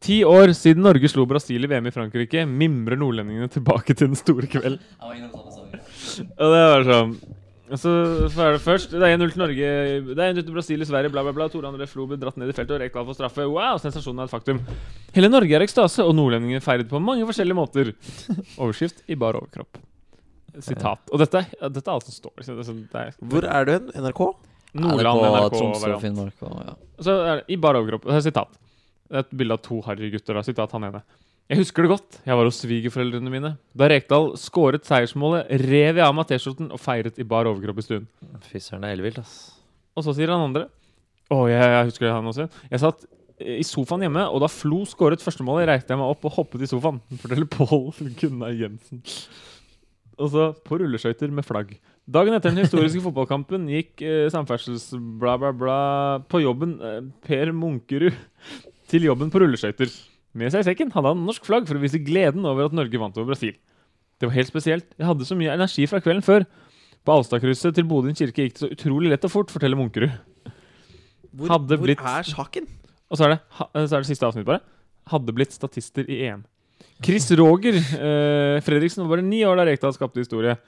Ti år siden Norge slo Brasil i VM i Frankrike, mimrer nordlendingene tilbake til den store kveld.
Jeg var innom samme sak.
Og det var sånn så så er det først Det er 1-0 til Norge Det er 1-0 til Brasil i Sverige, bla, bla, bla. Tore André Flo ble dratt ned i feltet og Rekdal får straffe. Wow, sensasjonen er et faktum. Hele Norge er i ekstase, og nordlendingene feiret på mange forskjellige måter. Overskrift i bar overkropp. Sitat. Og dette, er- dette er alt som står. Så det er sånn- det er
Hvor er du hen? NRK?
Nordland,
Ja, det er
NRK
på Tromsø og
variant.
Finnmark. Og, ja.
Så er det i bar overkropp. Det er sitat. Det er et bilde av to harry gutter. Da. Sitat han ene. Jeg husker det godt. Jeg var hos svigerforeldrene mine. Da Rekdal skåret seiersmålet, rev jeg av meg T-skjorten og feiret i bar overkropp i stuen.
Fy søren, det er ellevilt, ass.
Og så sier han andre Å, jeg, jeg husker det han også Jeg satt eh, i sofaen hjemme, og da Flo skåret første målet, reiste jeg meg opp og hoppet i sofaen. Forteller Pål Gunnar Jensen. Og så på rulleskøyter med flagg. Dagen etter den historiske fotballkampen gikk eh, samferdselsbla, bla, bla på jobben eh, Per Munkerud til jobben på rulleskøyter. Med seg i sekken hadde han norsk flagg for å vise gleden over at Norge vant over Brasil. Det var helt spesielt. Jeg hadde så mye energi fra kvelden før. På Alstadkrysset til Bodø kirke gikk det så utrolig lett og fort, forteller Munkerud.
Hvor,
Hadde
hvor
blitt-
er saken?
Og så er det, ha- eh, så er det siste avsnitt bare. Hadde blitt statister i EM. Chris Roger eh, Fredriksen var bare ni år da Rekdal skapte historie.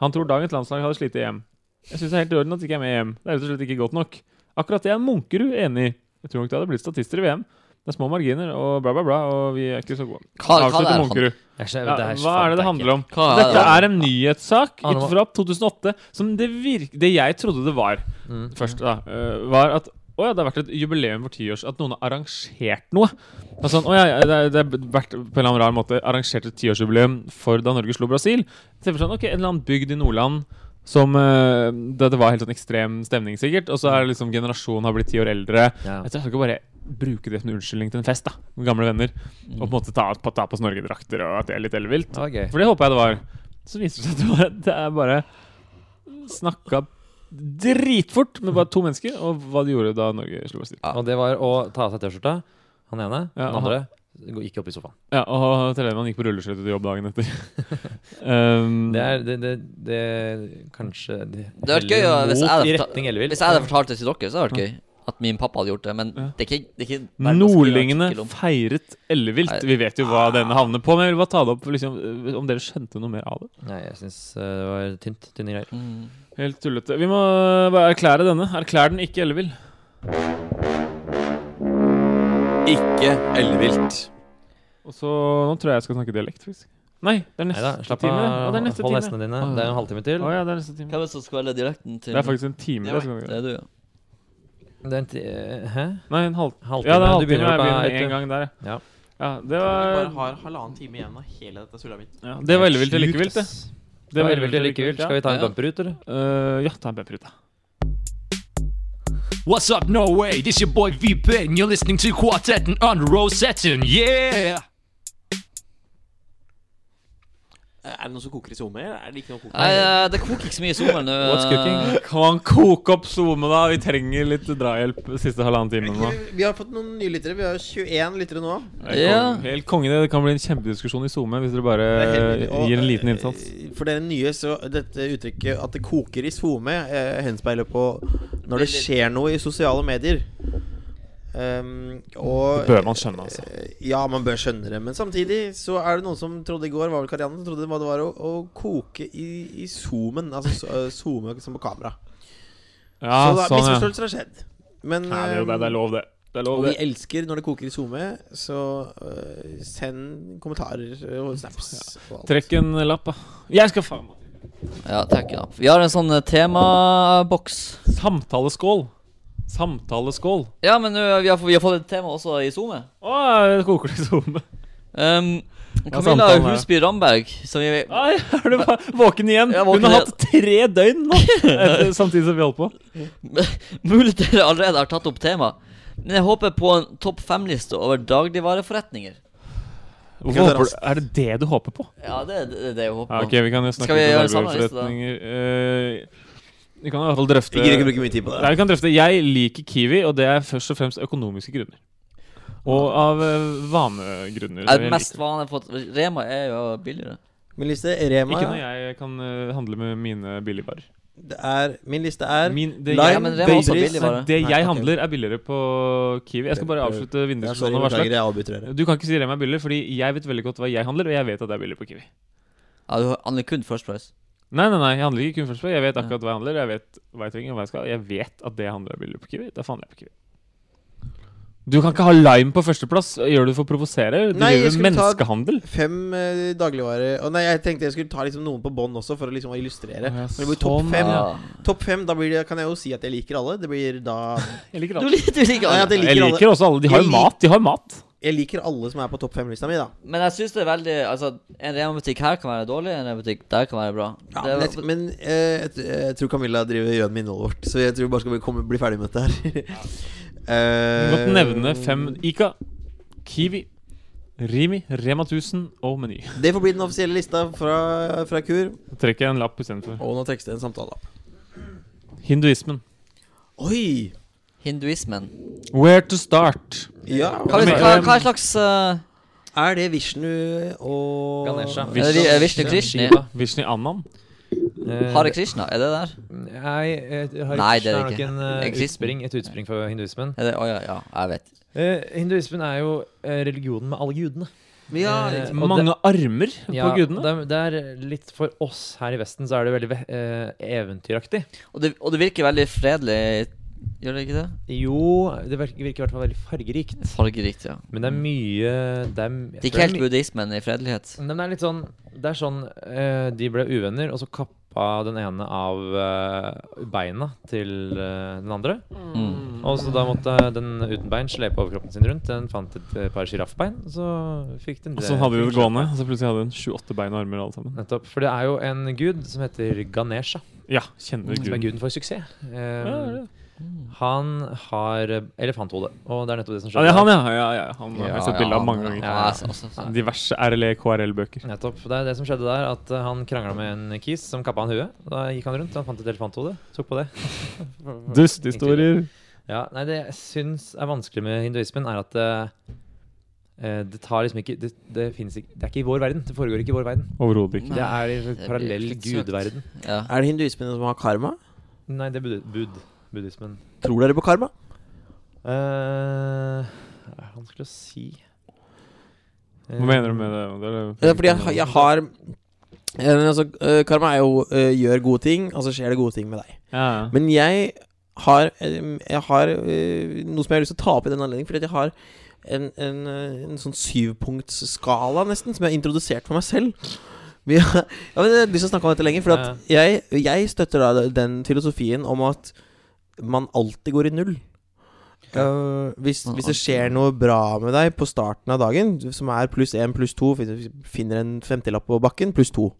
Han tror dagens landslag hadde slitt i EM. Jeg syns det er helt i orden at de ikke er med i EM. Det er rett og slett ikke godt nok. Akkurat det er Munkerud enig i. Jeg tror nok det hadde blitt statister i VM. Det er små marginer og bla, bla, bla, og vi er ikke så gode.
Hva- hva det
Avslutter
er han-
Munkerud.
Jeg skjønner-
Ja, hva
her fant
er det det
jeg
handler om?
Hva er
Dette
det?
er en nyhetssak
Ja, Ah, det
ut
var-
fra 2008 som det, virk, det jeg trodde det var
Mm.
først, da, eh, var at å ja, det har vært et jubileum for tiårs at noen har arrangert noe. Det er sånn, å ja, ja, det, er- det har vært på en eller annen rar måte arrangert et tiårsjubileum for da Norge slo Brasil. Så jeg får sånn, ok, En eller annen bygd i Nordland som eh, Det det var helt sånn ekstrem stemning, sikkert. Og så er det liksom generasjonen har blitt ti år eldre.
Ja.
Jeg skal ikke bare bruke det som en unnskyldning til en fest da med gamle venner. Og på en måte ta, ta på oss Norgedrakter og at det er litt ellevilt.
Det var gøy.
For det håper jeg det var. Så viser det seg at det, var, det er bare snakka dritfort med bare to mennesker, og hva de gjorde da Norge slo Brasil.
Og det var å ta av seg T-skjorta. Han ene.
Ja,
den andre gå- gikk opp i sofaen.
Ja, og Telemann gikk på rulleskøyter til jobb dagen etter. um,
Det er det, det, det kanskje Det,
Det hadde vært gøy ja, hvis jeg
mot
hadde,
i
forta-
retning ellevill.
hvis jeg hadde fortalt det til dere, så hadde det vært gøy. At min pappa hadde gjort det. Men det er ikke, det er ikke verdens gøy
Nordlingene
artikkel om.
feiret ellevilt.
Nei.
Vi vet jo hva denne havner på, men jeg vil bare ta det opp liksom, om dere skjønte noe mer av det.
Nei, jeg syns det var tynt. Tynne greier.
Mm.
Helt tullete. Vi må eh, bare erklære denne. Erklær den ikke ellevill.
Ikke ellevilt.
Og så Nå tror jeg jeg skal snakke dialekt, faktisk. Nei, det er
Nei da,
neste
slapp
time.
av.
Ja, det er neste
Hold
time.
hestene dine. Det er jo en halvtime til.
Å ja, det er neste time.
Hvem er det som skveller direkten til
Det er faktisk en time. Det skal vi
Det
gjøre.
er du, ja.
Det er en ti eh, Hæ?
Nei, en halv...
Halvtime.
Ja, det er
Du
halvtime.
begynner
Jeg
klokka
begynner
ett,
med en gang der,
Ja.
ja. Det
bare
var,
har halvannen time igjen av hele dette sulla mitt.
ja, det var ellevilt eller likevilt, det.
eh, Sjukt, ass.
Det var
ellevilt eller likevilt. Skal vi ta en
Ja.
bumper ut, eller?
Eh, Ja, ta en pepper ut, da.
What's up, Norway? This your boy VP, and you're listening to Quartet and on Rosetten, yeah!
Er det noe som koker i SoMe, eller er det ikke noe koker?
Nei, eh, det koker ikke så mye i sommeren eh. nå.
What's cooking?
Eh, Kan man koke opp SoMe, da? Vi trenger litt drahjelp siste halvannen timen nå.
Vi har fått noen nye lyttere. Vi har 21 lyttere nå.
Ja.
Helt konge. Det kan bli en kjempediskusjon i SoMe hvis dere bare
Det er helt- og,
Eh, gir en liten innsats.
eh, For dere nye, så dette uttrykket at det koker i SoMe, eh, henspeiler på når det skjer noe i sosiale medier. Um, og
Det bør man skjønne, altså.
eh, Ja, man bør skjønne det. Men samtidig så er det noen som trodde i går, var vel Karianne, som trodde hva det var å, å koke i, i zoomen. Altså so- eh, zoome som på kamera.
Ja,
så da,
sånn, ja.
misforståelser har skjedd. Men
Nei, det, er jo det, det er lov, det. Det er
og
lov,
vi
det.
elsker når det koker i SoMe, så eh, send kommentarer eh, og snaps. og alt.
Trekk en lapp, da. Jeg skal faen meg
Ja, takk, ja. Vi har en sånn eh, temaboks.
Samtaleskål. Samtaleskål.
Ja, men eh, vi har, vi har fått et tema også i Um, SoMe.
Å, det koker det i SoMe.
Um, Camilla
samtalen her.
Husby Ramberg, som vi
Ai, er du va- våken igjen?
Jeg er
Hun
våken
har hatt tre døgn nå etter- samtidig som vi holdt på.
mulig dere allerede har tatt opp tema. Men jeg håper på en topp fem-liste over dagligvareforretninger.
Hvorfor
gjøre
håper du, er det det du håper på?
Ja, det er det, det er det jeg håper
Ja,
på.
ok, Vi kan jo snakke
Skal vi
litt om
gjøre samme liste, da?
arbeidsforretninger. Eh, vi kan i hvert fall drøfte
Vi gidder ikke bruke mye tid på
Nei,
det.
vi kan drøfte Jeg liker Kiwi, og det er først og fremst økonomiske grunner. Og av eh, vanegrunner.
Er
Jeg
det
liker
mest
det.
vanlig for at Rema er jo billigere.
Min liste, Rema,
Ikke når jeg kan eh, handle med mine billigvarer.
det er, min liste er
Min- det-
Lime,
Ja, men Rema er også
Baileys.
billig vare.
Nei, Det
Nei,
jeg
ok.
handler, er billigere på Kiwi. Jeg skal bare avslutte
Ja, sorry,
vinduskontrollen og sånn,
beklager,
varsle.
jeg avbryter dere.
Du kan ikke si Rema er billig, fordi jeg vet veldig godt hva jeg handler, og jeg vet at det er billig på Kiwi.
Ja, du handler kun First Price.
Nei, nei, nei, jeg handler ikke kun først på. Jeg vet akkurat hva jeg handler. Jeg vet hva jeg trenger, og hva jeg skal. Jeg vet at det jeg handler er billig på Kiwi. Derfor handler jeg på Kiwi. Du kan ikke ha lime på førsteplass. Gjør du det for å provosere? Du
Nei, jeg
driver
skulle
med
ta-
menneskehandel.
Fem eh, dagligvare Å nei, jeg tenkte jeg skulle ta liksom noen på bånd også, for å liksom
Å,
illustrere.
ja,
Men det blir
sånn,
topp fem.
ja.
Ja.
Topp fem, da blir det, kan jeg jo si at jeg liker alle. Det blir da
Jeg liker
Du
alle.
liker, du liker
Nei, at
alle.
jeg
Jeg
liker
liker
alle.
også alle. De har
Jeg
jo
lik-
mat. De har mat.
Jeg liker alle som er på topp fem-lista mi, da.
Men jeg syns det er veldig Altså, en Rema-butikk her kan være dårlig, en Rema-butikk der kan være bra.
Ja,
det,
men jeg, men eh, jeg, jeg tror Camilla driver gjøn med innholdet vårt, så jeg tror vi bare skal vi komme, bli ferdig med dette her.
Du
Eh,
kan nevne fem Ica, Kiwi, Rimi, Rema 1000 og Meny.
Det får bli den offisielle lista fra, fra Kur.
Trekker jeg en lapp istedenfor.
Og nå trekkes det en samtaleapp.
Hinduismen.
Oi!
Hinduismen.
Where to start?
Ja.
Hva,
Men-
hva, hva er slags eh,
Er det Vishnu og
Ganesha.
er det, er Vishnu Krishna?
Shiva.
Vishni Annan.
Eh,
Hare Krishna, er det der?
Nei, eh, Hare
Nei, det er
Krishna er
det
nok
ikke.
en,
Det
eh,
er kristen.
utspring, et utspring for hinduismen.
Er det, å, ja, ja, jeg vet.
Eh, hinduismen er jo eh, religionen med alle gudene.
Ja,
Eh, og
Mange armer på gudene.
Det, er- det er litt For oss her i Vesten så er det veldig ve- eh, eventyraktig.
Og det, og det virker veldig fredelig, gjør det ikke det?
Jo, det virker, virker i hvert fall veldig fargerikt.
Fargerikt, ja.
Men det er mye Det er, jeg
Det er
tror
ikke helt
my-
buddhismen i fredelighet.
Men det er litt sånn Det er sånn eh, De ble uvenner, og så kappa den ene av eh, beina til eh, den andre.
Mm.
Og så da måtte den uten bein slepe overkroppen sin rundt. Den fant et eh, par sjiraffbein, og så fikk den
Og
det.
sånn hadde vi
fikk
det gående. Og så plutselig hadde hun 28 bein og armer alle sammen.
Nettopp. For det er jo en gud som heter Ganesha,
Ja, kjenner
som er
guden.
guden for suksess.
Ja,
Eh,
det er det.
han har eh, elefanthode, og det er nettopp det som
Ja,
skjer.
det er han, ja. ja, ja. Han har
Ja,
jeg sett bilde
ja,
av mange
han-
ganger.
Ja, jeg så- også- så-
Diverse E, RLE, KRL-bøker.
Nettopp. Det er det som skjedde der, at eh, han krangla med en kis som kappa han huet. Da gikk han rundt, han fant et elefanthode, tok på det.
Dusthistorier.
Ja, nei, det jeg syns er vanskelig med hinduismen, er at det, eh, det tar liksom ikke det, det finnes ikke Det er ikke i vår verden. Det foregår ikke i vår verden.
Overhodet ikke.
Nei,
Det er i en
blir
parallell
litt søkt.
gudverden.
Ja.
Er det hinduismen som har karma?
Nei, det er bud, bud, buddhismen.
Tror dere på karma?
Eh, det er vanskelig å si. Eh,
Hva mener du med det? det, er det
Eh, Fordi jeg, jeg har eh, men altså, eh, Karma er jo eh, gjør gode ting, og så skjer det gode ting med deg.
ja. ja.
Men jeg har, eh, jeg har eh, noe som jeg har lyst til å ta opp i den anledning, fordi at jeg har en, en, eh, en sånn syvpunktsskala, nesten, som jeg har introdusert for meg selv. Vi har, ja, men jeg har lyst til å snakke om dette lenger, for at jeg, jeg støtter da den filosofien om at man alltid går i null. Eh, hvis,
Man
hvis det
alltid-
skjer noe bra med deg på starten av dagen, som er pluss én, pluss to Hvis du finner en femtilapp på bakken, pluss to.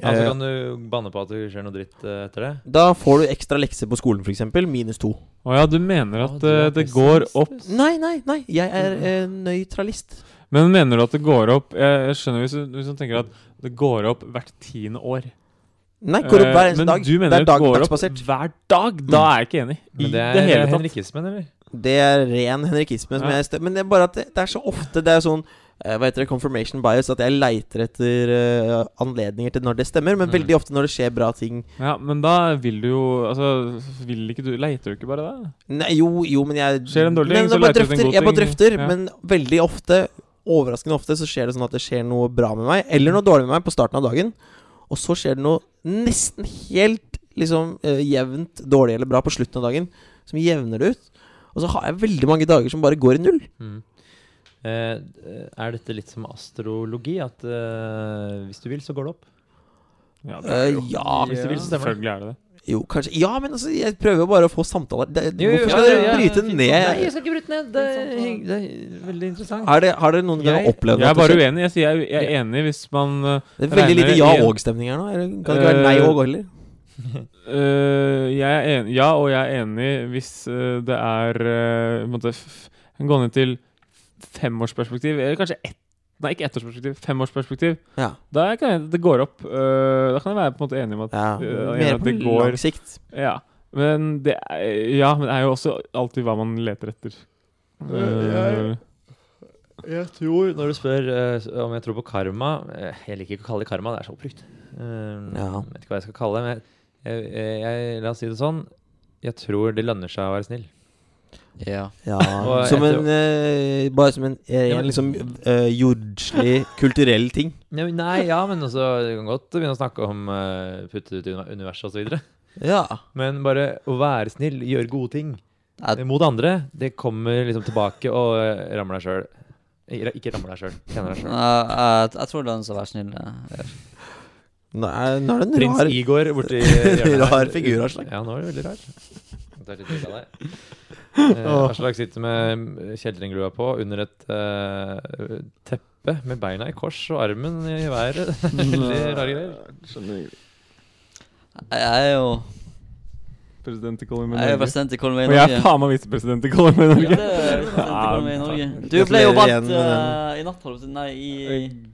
Ja, så
Eh,
kan du banne på at det skjer noe dritt eh, etter det.
da får du ekstra lekser på skolen, f.eks. Minus to.
Å ja, du mener
Å,
at
du er
eh, det går opp
pessimistisk.
Nei, nei, nei. Jeg er eh, nøytralist.
Men mener du at det går opp Jeg jeg skjønner hvis du, hvis du tenker at det går opp hvert tiende år.
Nei, går opp hver
Eh,
eneste
men
dag.
du mener
det er
det
dag,
går opp
dagsbasert.
hver dag? Da er jeg ikke enig. I
Men
det,
det er
hele tatt.
henrikismen, eller?
Det er ren henrikisme. Som
Ja.
jeg stø men det er bare at det, det er så ofte Det er sånn eh, hva heter det, confirmation bias, at jeg leiter etter eh, anledninger til når det stemmer. Men
Mm.
veldig ofte når det skjer bra ting
Ja, Men da vil du jo Altså, vil ikke du Leiter du ikke bare det?
Nei, jo, jo, men jeg
Skjer det en dårlig ting,
men
så
jeg bare
leiter du etter en
drøfter,
god
Jeg bare
ting.
drøfter,
Ja.
men veldig ofte, overraskende ofte, så skjer det sånn at det skjer noe bra med meg, eller noe dårlig med meg på starten av dagen, og så skjer det noe nesten helt liksom eh, jevnt dårlig eller bra på slutten av dagen, som jevner det ut. Og så har jeg veldig mange dager som bare går i null.
Mm. Eh, er dette litt som astrologi? At eh, hvis du vil, så går det opp?
Ja, det
Eh,
er jo.
ja,
Hvis du vil,
stemmer det.
selvfølgelig er det det.
jo, kanskje Ja, men altså, jeg prøver jo bare å få samtaler. Det,
Jo, jo,
hvorfor
ja,
skal dere
ja, ja,
bryte
fint. Nei,
ned?
jeg skal ikke bryte ned. Det er, hygg- det er veldig interessant.
Er det, har dere noen gang
Jeg-
opplevd
Jeg
at
er
det
bare
skjer?
uenig. Jeg sier jeg er- jeg er enig hvis man øh,
Det er veldig lite
regner i en-
ja-og-stemning her nå. Er det- Kan det ikke være
Eh,
nei-og heller?
Øh, jeg er enig, ja, og jeg er enig hvis øh, det er øh, på en måte f- Gå ned til femårsperspektiv, eller kanskje ett Nei, ikke ettårsperspektiv, femårsperspektiv.
Ja.
Da kan jeg, det går opp. øh, da kan jeg være på en måte enig om at
ja.
øh, enig
Mer
at
på
det går-
lang sikt.
Ja. Men det er, ja, men det er jo også alltid hva man leter etter. Øh,
Jeg tror, når du spør eh, om jeg tror på karma eh, Jeg liker ikke å kalle det karma, det er så oppbrukt. Eh,
Ja.
Jeg vet ikke hva jeg skal kalle det, men jeg, jeg, jeg, la oss si det sånn. Jeg tror det lønner seg å være snill.
ja.
Ja,
Og
som
etter-
en, eh, bare som en, eh,
Ja, men-
en liksom eh, jordslig, kulturell ting.
Nei, men- nei, ja, men også, du kan godt begynne å snakke om eh, putte ut i univer- universet osv.
Ja.
Men bare å være snill, gjøre gode ting
Ja.
eh, mot andre, det kommer liksom tilbake og eh, rammer deg sjøl. Ikke rammer deg sjøl, kjenner deg
Jeg,
sjøl.
jeg, jeg tror det er den som er snill. eh,
Nå er, nå er det en
Prins
rar
Igor borti hjørnet her.
Rar figur, altså. Aslak.
Ja, nå er det veldig rar. Det er litt billig av deg. Eh, Aslak sitter med kjeltringlua på under et eh, teppe med beina i kors og armen i været. veldig rare greier.
Jeg er jo
president i Colombia
Jeg er
Norge.
president i Colmay
Og jeg er
Norge.
faen meg visepresident i Colombia
Ja,
Norge.
det er president i Colmay Norge. Du
Gratulerer
ble jo
igjen
valgt
med den.
eh, i natt, holdt jeg på å si. Nei, i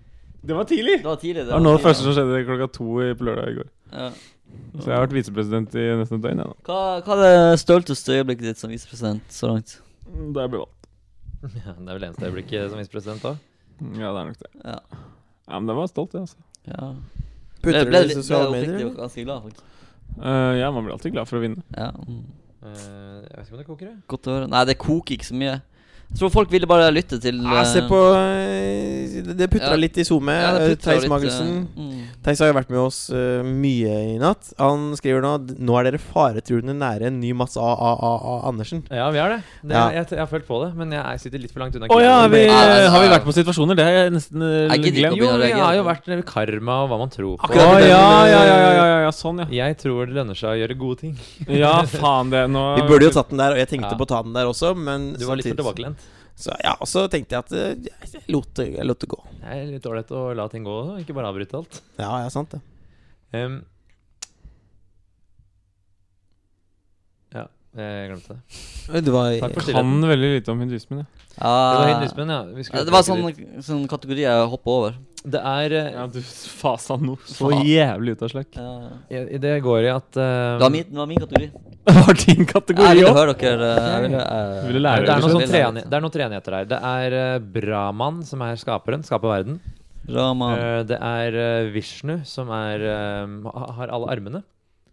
Det var tidlig!
Det var tidlig.
Det var noe av det første
tidlig.
som skjedde klokka to i- på lørdag i går.
Ja.
Så jeg har vært visepresident i nesten et døgn. jeg nå.
Hva, hva er det stølteste øyeblikket ditt som visepresident så langt?
Da jeg ble valgt.
Ja, det er vel eneste øyeblikket som visepresident da.
Mm, Ja, det er nok det.
Ja.
Ja, men jeg var stolt, jeg, altså.
ja.
Putter du
ble,
det i sosiale
ble
medier?
oppriktig
eller?
ganske glad, faktisk.
Eh, ja, man blir alltid glad for å vinne.
Ja. mm.
Eh, jeg vet ikke om det koker, jeg.
Godt å høre. Nei, det koker ikke så mye. Jeg tror folk ville bare lytte til
Ja, se
eh,
på eh, Det det putra
Ja.
litt i SoMe.
ja, det
eh,
putter
Theis
litt, eh,
Magelsen.
mm.
Theis har jo vært med oss eh, mye i natt. Han skriver nå at nå er dere faretruende nære en ny Mats AAA Andersen.
Ja, vi er det. det
Ja.
jeg, jeg har følt på det, men jeg sitter litt for langt unna.
Å ja,
Kina.
har vi, eh,
Nei,
har vi
nei.
vært på situasjoner? Det har jeg nesten eh,
Jeg gidder ikke å
glemt.
begynne.
Jo,
å
vi
reagere
har jo
på
vært nede ved karma og hva man tror på.
Å ja, ja, ja, ja, ja, ja, sånn, ja.
Jeg tror det lønner seg å gjøre gode ting.
Ja, faen det. Nå
Vi burde jo tatt den der, og jeg tenkte
Ja.
på å ta den der også, men
Du var litt for
samtidig-
tilbakelent.
Så, ja, og så tenkte jeg at eh, jeg jeg lot det, jeg lot det gå.
Det er litt ålreit å la ting gå, og ikke bare avbryte alt.
Ja, ja, sant det.
Em, ja, jeg glemte det.
Det var
Takk
kan
for stillheten.
veldig lite om hinduismen. Ja.
Det var
Ja,
hinduismen, ja. Vi
Ah,
skulle
ja, det var
tilbake
sånn, sånn kategori jeg hoppa over.
dit. Det er eh,
ja, du fasa noe så jævlig ut av slakk.
Ja.
i- i Det går i at eh,
Det, var min, det var min kategori.
Det var din
Ja, jeg
kategori
ville
òg!
høre dere. eh, Jeg ville, eh,
Du ville
Nei,
lære liksom.
det er
rett og
noen
slett.
sånn treeni- det er noen treenigheter her. Det er eh, Brahman, som er skaperen, skaper verden.
Raman.
Eh, det er eh, Vishnu, som er eh, ha- har alle armene.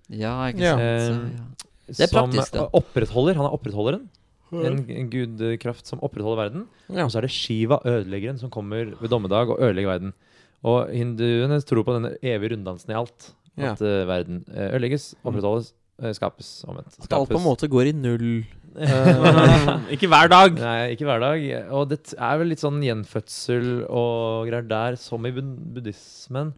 Ja, ikke
Ja.
sant. Så,
Eh,
ja. Det er praktisk,
Som
da.
eh, opprettholder. Han er opprettholderen. En g- en gudkraft som opprettholder verden. Og så er det Shiva, ødeleggeren, som kommer ved dommedag og ødelegger verden. Og hinduene tror på denne evige runddansen i alt.
Ja.
At eh, verden eh, ødelegges, opprettholdes, eh, skapes. Omvendt.
At alt på en måte går i null.
Ikke hver dag.
Nei, ikke hver dag. Og det t- er vel litt sånn gjenfødsel og greier der, som i bud- buddhismen.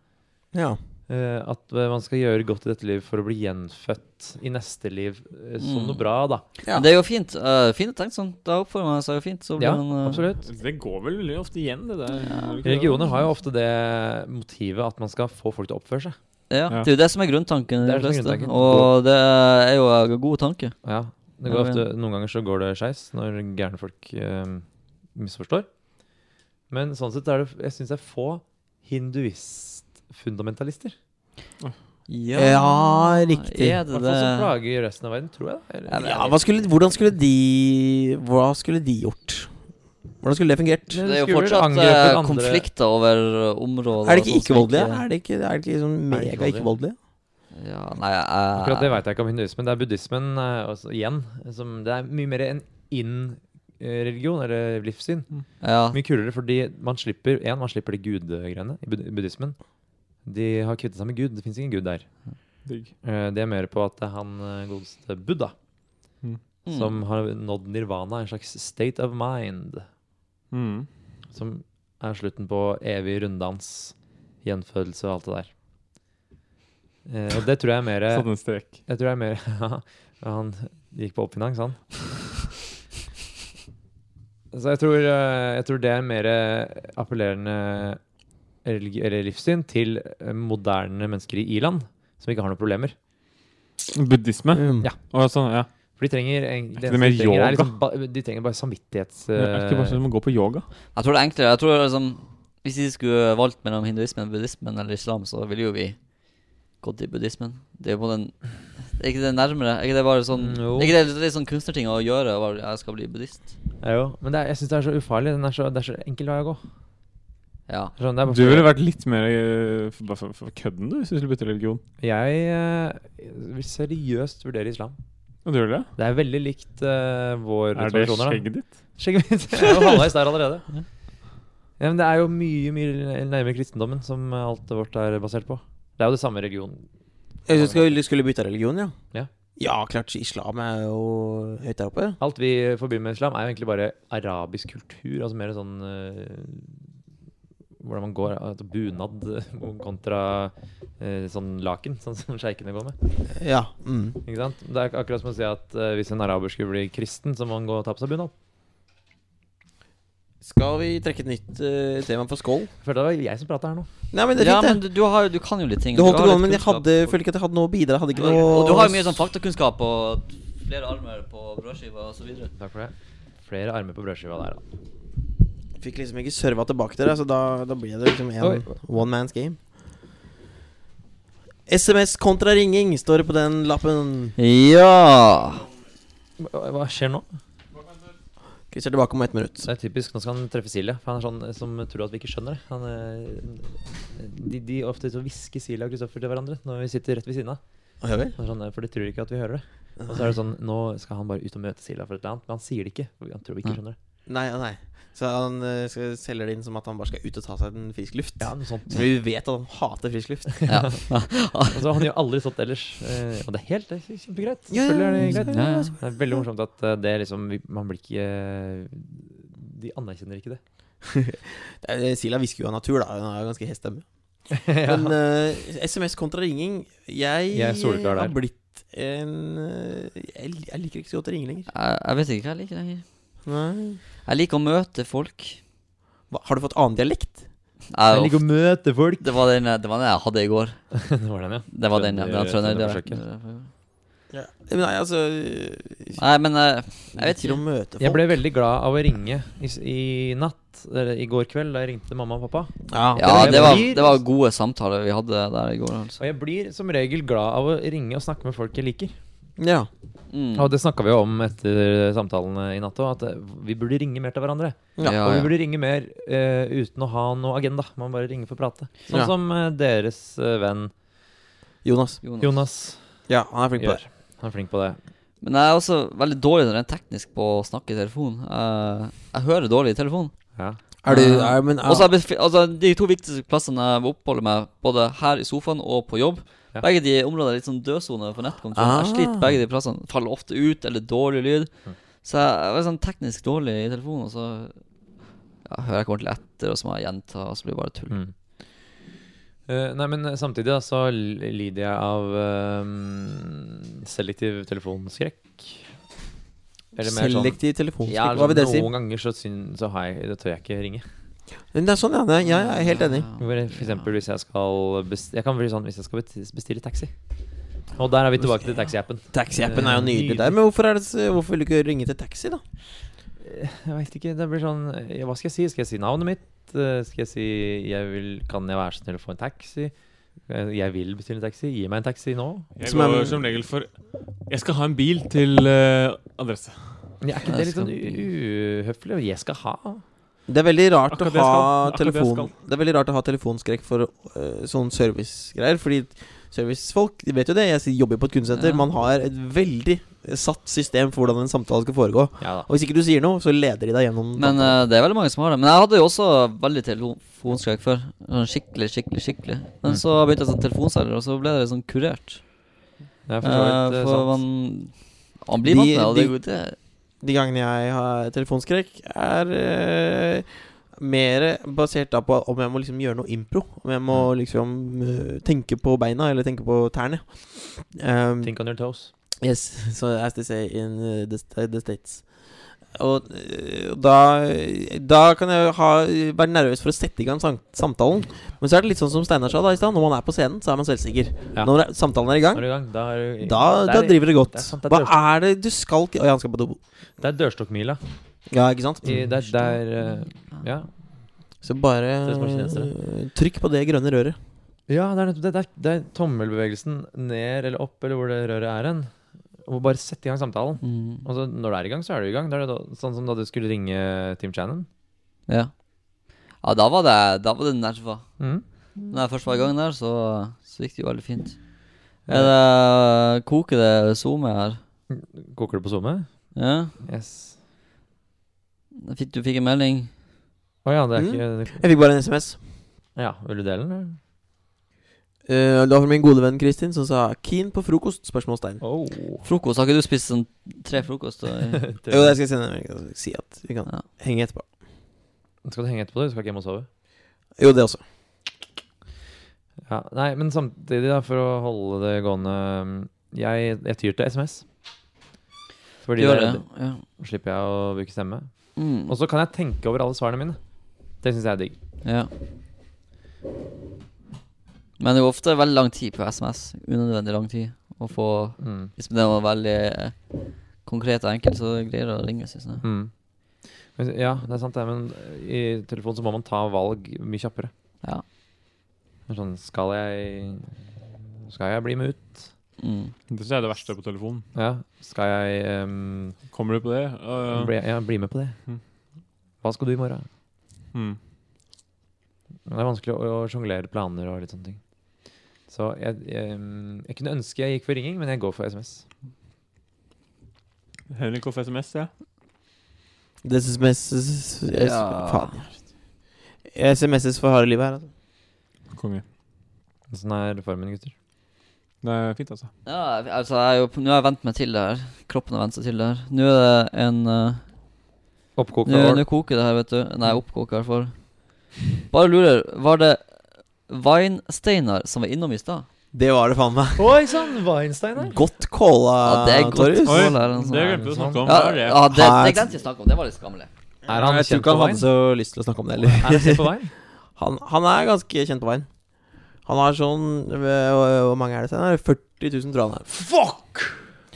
Ja.
eh, at eh, man skal gjøre godt i dette liv for å bli gjenfødt i neste liv eh, som
Mm.
noe bra, da.
Ja.
Men det er jo fint. eh, fint tenkt sånn. Da oppfører man seg jo fint. Så blir
Ja,
man, eh,
absolutt.
Det går vel veldig ofte igjen, det der. Gjør det ikke det?
Religioner har jo ofte det motivet at man skal få folk til å oppføre seg.
Ja,
Ja.
Det er jo det som er grunntanken. i
Det
de
er det som er
fleste,
grunntanken.
Og det er jo eh, en god tanke.
Ja,
Ja,
det går
men-
ofte, Noen ganger så går det skeis når gærne folk eh, misforstår. Men sånn sett er det jeg syns det er få hinduistfundamentalister.
Ja,
Ja, riktig.
Er
I
det
hvert
det?
fall som plager resten av verden, tror jeg. da. Eller-
ja hva skulle, hvordan skulle de Hva skulle de gjort? Hvordan skulle det fungert?
Det er jo
Skulle vel
fortsatt
angrepet
eh,
andre-
konflikter over eh, områder.
Er det
og
ikke
sånt som
ikke-voldelige? Er det ikke, er det ikke sånn
Er det
mega ikke-voldelige?
Ja, nei, eh,
Akkurat det veit jeg ikke om hinduismen. Det er buddhismen eh, altså, igjen. Som, det er mye mer en inn-religion, eller livssyn.
Ja,
Mye kulere fordi man slipper en, man slipper de gudegreiene i bud- buddhismen. De har kvittet seg med Gud. Det fins ingen Gud der.
Digg.
Eh, De er mer på at det er han eh, godeste Buddha
Mm.
som har nådd nirvana, en slags state of mind,
Mm.
som er slutten på evig runddans, gjenfødelse og alt det der. Eh, Og det tror jeg er mer
Satt en strek.
Jeg tror det er mer Han gikk på oppfinans, han. Så jeg tror, eh, jeg tror det er mer eh, appellerende religi- eller livssyn til eh, moderne mennesker i i-land, som ikke har noen problemer.
Buddhisme?
Mm.
Ja.
Å, sånn, ja.
For de trenger en-
det
eneste
mer
de trenger, er
yoga?
liksom, ba- De trenger bare samvittighets...
Er det ikke bare sånn
eh,
som å gå på yoga?
Jeg tror det er enklere. Jeg tror liksom Hvis de skulle valgt mellom hinduismen, buddhismen eller islam, så ville jo vi gått i buddhismen. Det er jo på den Er ikke det nærmere? Er ikke det bare sånn
Mm, jo.
Er ikke det litt sånn kunstnerting å gjøre? Bare, jeg skal bli buddhist.
ja, jo. Men det er, jeg syns det er så ufarlig. Den er så, det er så enkel vei å gå.
Ja.
Det er Sånn, det er bare
Du
for-
ville vært litt mer eh, for, bare for, for kødden, du, hvis du skulle bytte religion.
Jeg eh, vil seriøst vurdere islam.
Ja, du gjør det?
Det er veldig likt eh, våre
Er det
tradisjoner, da.
skjegget ditt?
Skjegget mitt. Jeg er jo halvveis der allerede. Ja, men det er jo mye mye nærmere kristendommen som alt vårt er basert på. Det er jo det samme religion.
Jeg synes skulle, skulle bytte religion, ja.
Ja.
Ja, klart. Islam er jo høyt der oppe.
Alt vi forbinder med islam, er jo egentlig bare arabisk kultur. Altså mer sånn eh, Hvordan man går altså Bunad eh, kontra eh, sånn laken, sånn som sjeikene går med.
Ja. Mm.
Ikke sant? Det er akkurat som å si at eh, hvis en araber skulle bli kristen, så må han gå og ta på seg bunad.
Skal vi trekke et nytt eh, tema for skål?
Jeg følte det var jeg som prata her nå.
Nei, men det er
Ja,
fint,
men
det.
du, du, har, du kan jo litt ting.
Det holdt
Du
det
har
gående,
litt
men jeg
kunnskap
hadde,
og-
følte ikke at jeg hadde noe å bidra. Jeg hadde ikke noe
Og du har jo mye sånn faktakunnskap og flere armer på brødskiva og så videre.
Takk for det. Flere armer på brødskiva der, da.
Fikk liksom ikke serva tilbake til deg, så da, da blir det liksom en
Oi.
one man's game. SMS kontra ringing står det på den lappen.
Ja
Hva, hva skjer nå?
Chris er tilbake om ett minutt.
Det er typisk, Nå skal han treffe Silja. For han er sånn eh, som tror at vi ikke skjønner det. Han, eh, de, de ofte så hvisker Silja og Kristoffer til hverandre når vi sitter rett ved siden av. Han er Sånn, eh, for de tror ikke at vi hører det. Og så er det sånn Nå skal han bare ut og møte Silja for et eller annet. Men han sier det ikke. for Han tror vi ikke skjønner det.
Nei, ja, nei. Så han eh, skal selger det inn som at han bare skal ut og ta seg en frisk luft.
Ja, noe sånt.
Så vi vet at han hater frisk luft.
Ja.
Altså, han gjør aldri sånt ellers. eh, Og det er helt det er kjempegreit.
Ja, ja,
Selvfølgelig er det
ja,
greit.
ja, ja.
Det er veldig morsomt at eh, det er liksom vi- Man blir ikke eh, De anerkjenner ikke det.
Eh, Sila hvisker jo av natur, da. Hun har jo ganske hes stemme.
Ja.
Men eh, SMS kontra ringing Jeg,
Jeg er soleklar
har
der.
blitt en eh, jeg, jeg liker ikke så godt å ringe lenger.
Jeg, jeg vet ikke hva jeg liker lenger.
Nei.
Jeg liker å møte folk.
Hva, har du fått annen dialekt?
Jeg,
Jeg liker å møte folk.
det, var den, det var den jeg hadde i går.
det var den, ja.
Det var den, ja. Den
Trønder-
trønderdialekten.
Eh, Nei, altså
Nei, men eh, jeg vet
liker
ikke.
å møte folk.
Jeg ble veldig glad av å ringe i, s- i natt, eller i går kveld, da jeg ringte mamma og pappa.
Ja,
det
det var,
blir-
det var gode samtaler vi hadde der i går. Altså.
Og jeg blir som regel glad av å ringe og snakke med folk jeg liker.
ja.
Mm.
Og det snakka vi jo om etter samtalene i natt òg, at eh, vi burde ringe mer til hverandre.
Ja, ja,
Og vi burde ringe mer eh, uten å ha noe agenda. Man bare ringer for å prate. Sånn
Ja.
som eh, deres eh, venn
Jonas.
Jonas.
Jonas
Ja, han er Mm. flink på
gjør.
det.
Han er flink på det.
Men jeg er også veldig dårlig rent teknisk på å snakke i telefon. Jeg, jeg hører dårlig i telefon.
Ja.
Er du
Eh,
er, men,
Og så er befi- altså, de to viktigste plassene jeg oppholder meg, både her i sofaen og på jobb
Ja.
Begge de områdene er litt sånn dødsone for nettkontroll.
Ah.
Jeg sliter begge de plassene. Faller ofte ut, eller dårlig lyd. Så jeg er sånn teknisk dårlig i telefonen, og så ja, hører jeg ikke ordentlig etter, og så må jeg gjenta, og så blir det bare tull.
Mm. Eh, nei, men samtidig da, så l- lider jeg av eh, selektiv telefonskrekk. Eller mer sånn
Selektiv telefonskrekk.
ja,
Hva vil det si?
Noen ganger så, syn- så har jeg, det tør jeg ikke ringe.
Men det er sånn, ja. Nei, ja, jeg er helt enig.
Ja.
Hvor jeg- For eksempel hvis jeg skal bestille, Jeg kan bli sånn hvis jeg skal besti- bestille taxi. Og der er vi tilbake til taxi-appen.
Taxi-appen er jo nydelig der. Men hvorfor, er det, så- hvorfor vil du ikke ringe til taxi, da?
Jeg vet ikke, det blir sånn ja, Hva skal jeg si? Skal jeg si navnet mitt? Eh, Skal jeg si jeg vil, Kan jeg være så snill å få en taxi? Eh, Jeg vil bestille en taxi. Gi meg en taxi nå.
Jeg
Som er-
går som regel for Jeg skal ha en bil til eh, adresse.
Men Er ikke det litt sånn u- uhøflig? Jeg skal ha.
Det er veldig rart å
Akkurat det jeg
ha
skal. Akkurat det jeg
telefon Det er veldig rart å ha telefonskrekk for øh, sånn servicegreier. Fordi servicefolk de vet jo det. Jeg sier- jobber på et kundesenter.
Ja.
Man har et veldig satt system for hvordan en samtale skal foregå.
Ja da.
Og hvis ikke du sier noe, så leder de deg gjennom
Men
samtalen.
eh, det er veldig mange som har det. Men jeg hadde jo også veldig telefonskrekk før. Sånn Skikkelig, skikkelig, skikkelig.
Mm.
Men så begynte jeg som telefonselger, og så ble det sånn kurert.
Det er for så vidt
Eh,
eh,
for
sant.
man, man blir vant med
De-
det, og det. er
de-
jo- det
De gangene jeg har telefonskrekk, er øh, mer basert da på om jeg må liksom gjøre noe impro. Om jeg må
Mm.
liksom øh, tenke på beina, eller tenke på tærne. Um,
Think on your toes.
Yes, so as they say in uh, the, st- the States. Og eh, da, da kan jeg ha, være nervøs for å sette i gang sam- samtalen. Men så er det litt sånn som Steinar sa da i stad. Når man er på scenen, så er man selvsikker.
Ja.
Når er- samtalen er i
Nå er
gang,
du i gang. Da, er du,
da,
det
da
er-
driver det godt.
det er sant, det er
Hva er det du skal Oi, han skal på do.
Det er dørstokkmila.
Ja, ikke sant?
I- Det er der eh, Ja,
Så bare
Det er små
eh, trykk på det grønne røret.
Ja, det er, nettopp det, det, er, det er tommelbevegelsen ned eller opp, eller hvor det røret er hen. Og bare sette i gang samtalen.
mm,
Og så når det er i gang, så er det i gang. Det er det da, sånn som da du skulle ringe Tim Shannon.
ja. ja, da var det, da var det nerver.
Mm.
Når jeg først var i gang der, så, så gikk det jo veldig fint. Er det Koker det SoMe her?
Koker du på SoMe?
Ja?
Yes.
Jeg Fikk, du fikk en melding?
Å ja, det er
Mm.
ikke
Jeg fikk bare en SMS.
Ja, vil du dele den? eller?
Eh, det var fra min gode venn Kristin, som sa 'keen på frokost?' spørsmålstegn.
Oh.
Frokost? Har ikke du spist sånn tre frokoster? i-
Jo, det skal jeg sende en melding og si at vi kan
Ja.
henge etterpå.
Skal du henge etterpå? Du skal ikke hjem og sove?
Jo, det også.
Ja, Nei, men samtidig, da, for å holde det gående mm, Jeg, jeg tyr til SMS. Fordi
Gjør
da-
det? Ja.
slipper jeg å bruke stemme.
Mm.
Og så kan jeg tenke over alle svarene mine. Det syns jeg er digg.
Ja. Men det er jo ofte veldig lang tid på SMS. Unødvendig lang tid å få
Mm.
Hvis det var veldig eh, konkret og enkelt, så greier det å ringe, synes jeg.
Mm. Men, ja, det er sant det, men eh, i telefonen så må man ta valg mye kjappere.
Ja.
Det er Sånn, skal jeg Skal jeg bli med ut?
Mm.
Det synes jeg er det verste på telefonen.
Ja. Skal jeg ehm,
Kommer du på det? Øh,
bli, ja, bli med på det?
Mm.
Hva skal du i morgen?
mm.
Det er vanskelig å, å sjonglere planer og litt sånne ting. Så jeg, ehm, jeg kunne ønske jeg gikk for ringing, men jeg går for SMS.
Henrik og SMS, ja.
Det SMS
Ja.
Faen. SMS-es for harde livet her, altså.
Konge.
Sånn er formen, gutter.
Det er fint, altså.
Ja, altså, jeg er jo, nå har jeg vent meg til det her. Kroppen har vent seg til det her. Nå er det en eh,
Oppkokt
Nå
år.
nå koker det her, vet du. Nei, oppkoker i hvert fall. Bare lurer, var det Weinsteinar som var innom i stad?
Det var det faen meg.
Oi sann, Weinstein her.
Godt calla,
Ja, det er godt
Torjus.
calla.
Oi,
Skål, er det en sånn-
det glemte vi å snakke om.
Ja,
Hva er det?
ja det,
Her-
det glemte jeg å snakke om. Det var litt skammelig.
Er han
Jeg tror
kjent
ikke
på
han hadde
Wein?
så lyst til å snakke om det
Er han kjent
heller.
på Wein?
Han, han er ganske kjent på veien. Han har sånn øh, Hvor mange er det? Steinar? 40 000, tror jeg han er. Fuck!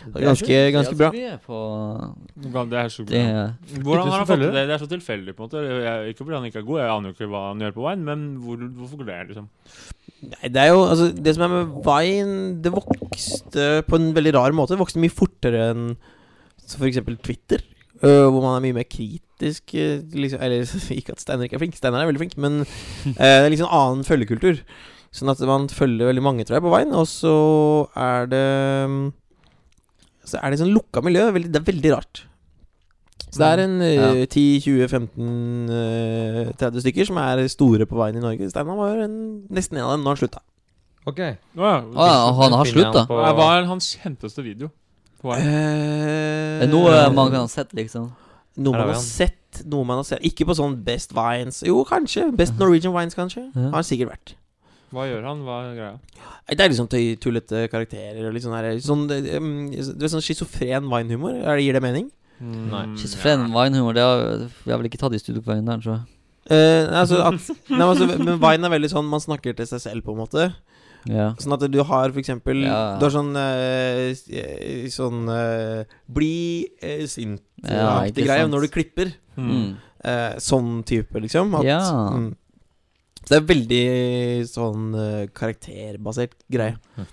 Det er ganske, ganske bra.
Vi er på
Det er så
det
Hvordan har han fått til
følgere?
det? Det er så tilfeldig, på en måte. Jeg, ikke fordi han ikke er god, jeg aner jo ikke hva han gjør på veien, men hvor, hvorfor går det, liksom?
Nei, det er jo altså, Det som er med Vine, det vokste på en veldig rar måte. Det vokste mye fortere enn f.eks. Twitter, øh, hvor man er mye mer kritisk. øh, Liksom, eller ikke at Steinar ikke er flink, Steinar er veldig flink, men eh, det er liksom annen følgekultur. Sånn at man følger veldig mange, tror jeg, på Vine, og så er det mm, Så er det sånn lukka miljø. Det er veldig, det er veldig rart. Så det er en øh, 10-20-15-30 eh, stykker som er store på veien i Norge. Steinar var en, nesten en av dem når han slutta.
Ok.
Å ja.
Å Ah, ja, han har
Finner
slutta.
han på-
Hva er- Hva er hans kjenteste video? På veien?
Eh,
Det er noe man kan ha sett, liksom.
noe
eh, Her er
man har
vi han.
sett. Noe man har sett Ikke på sånn Best Vines. Jo, kanskje. Best Norwegian Vines, kanskje.
Ja.
Har han sikkert vært.
Hva gjør han? Hva er greia?
Nei, Det er liksom tøy, tullete karakterer og litt sånn her sånn, eh, mm, Du vet sånn schizofren vinehumor? Er det- Gir det mening?
Nei.
Mm,
Schizofren vinehumor, det har vi har vel ikke tatt i studio på veien der, tror jeg.
Eh, altså at, nei, men altså, men Vine er veldig sånn man snakker til seg selv, på en måte.
Ja.
Sånn at du har for eksempel
Ja.
Du har sånn eh, s- eh, Sånn eh, Bli eh,
Ja,
sint-aktig
ikke
greie
sant.
når du klipper.
Mm.
Eh, sånn type, liksom. At,
Ja.
mm. Så det er veldig sånn eh, karakterbasert greie.
Mm.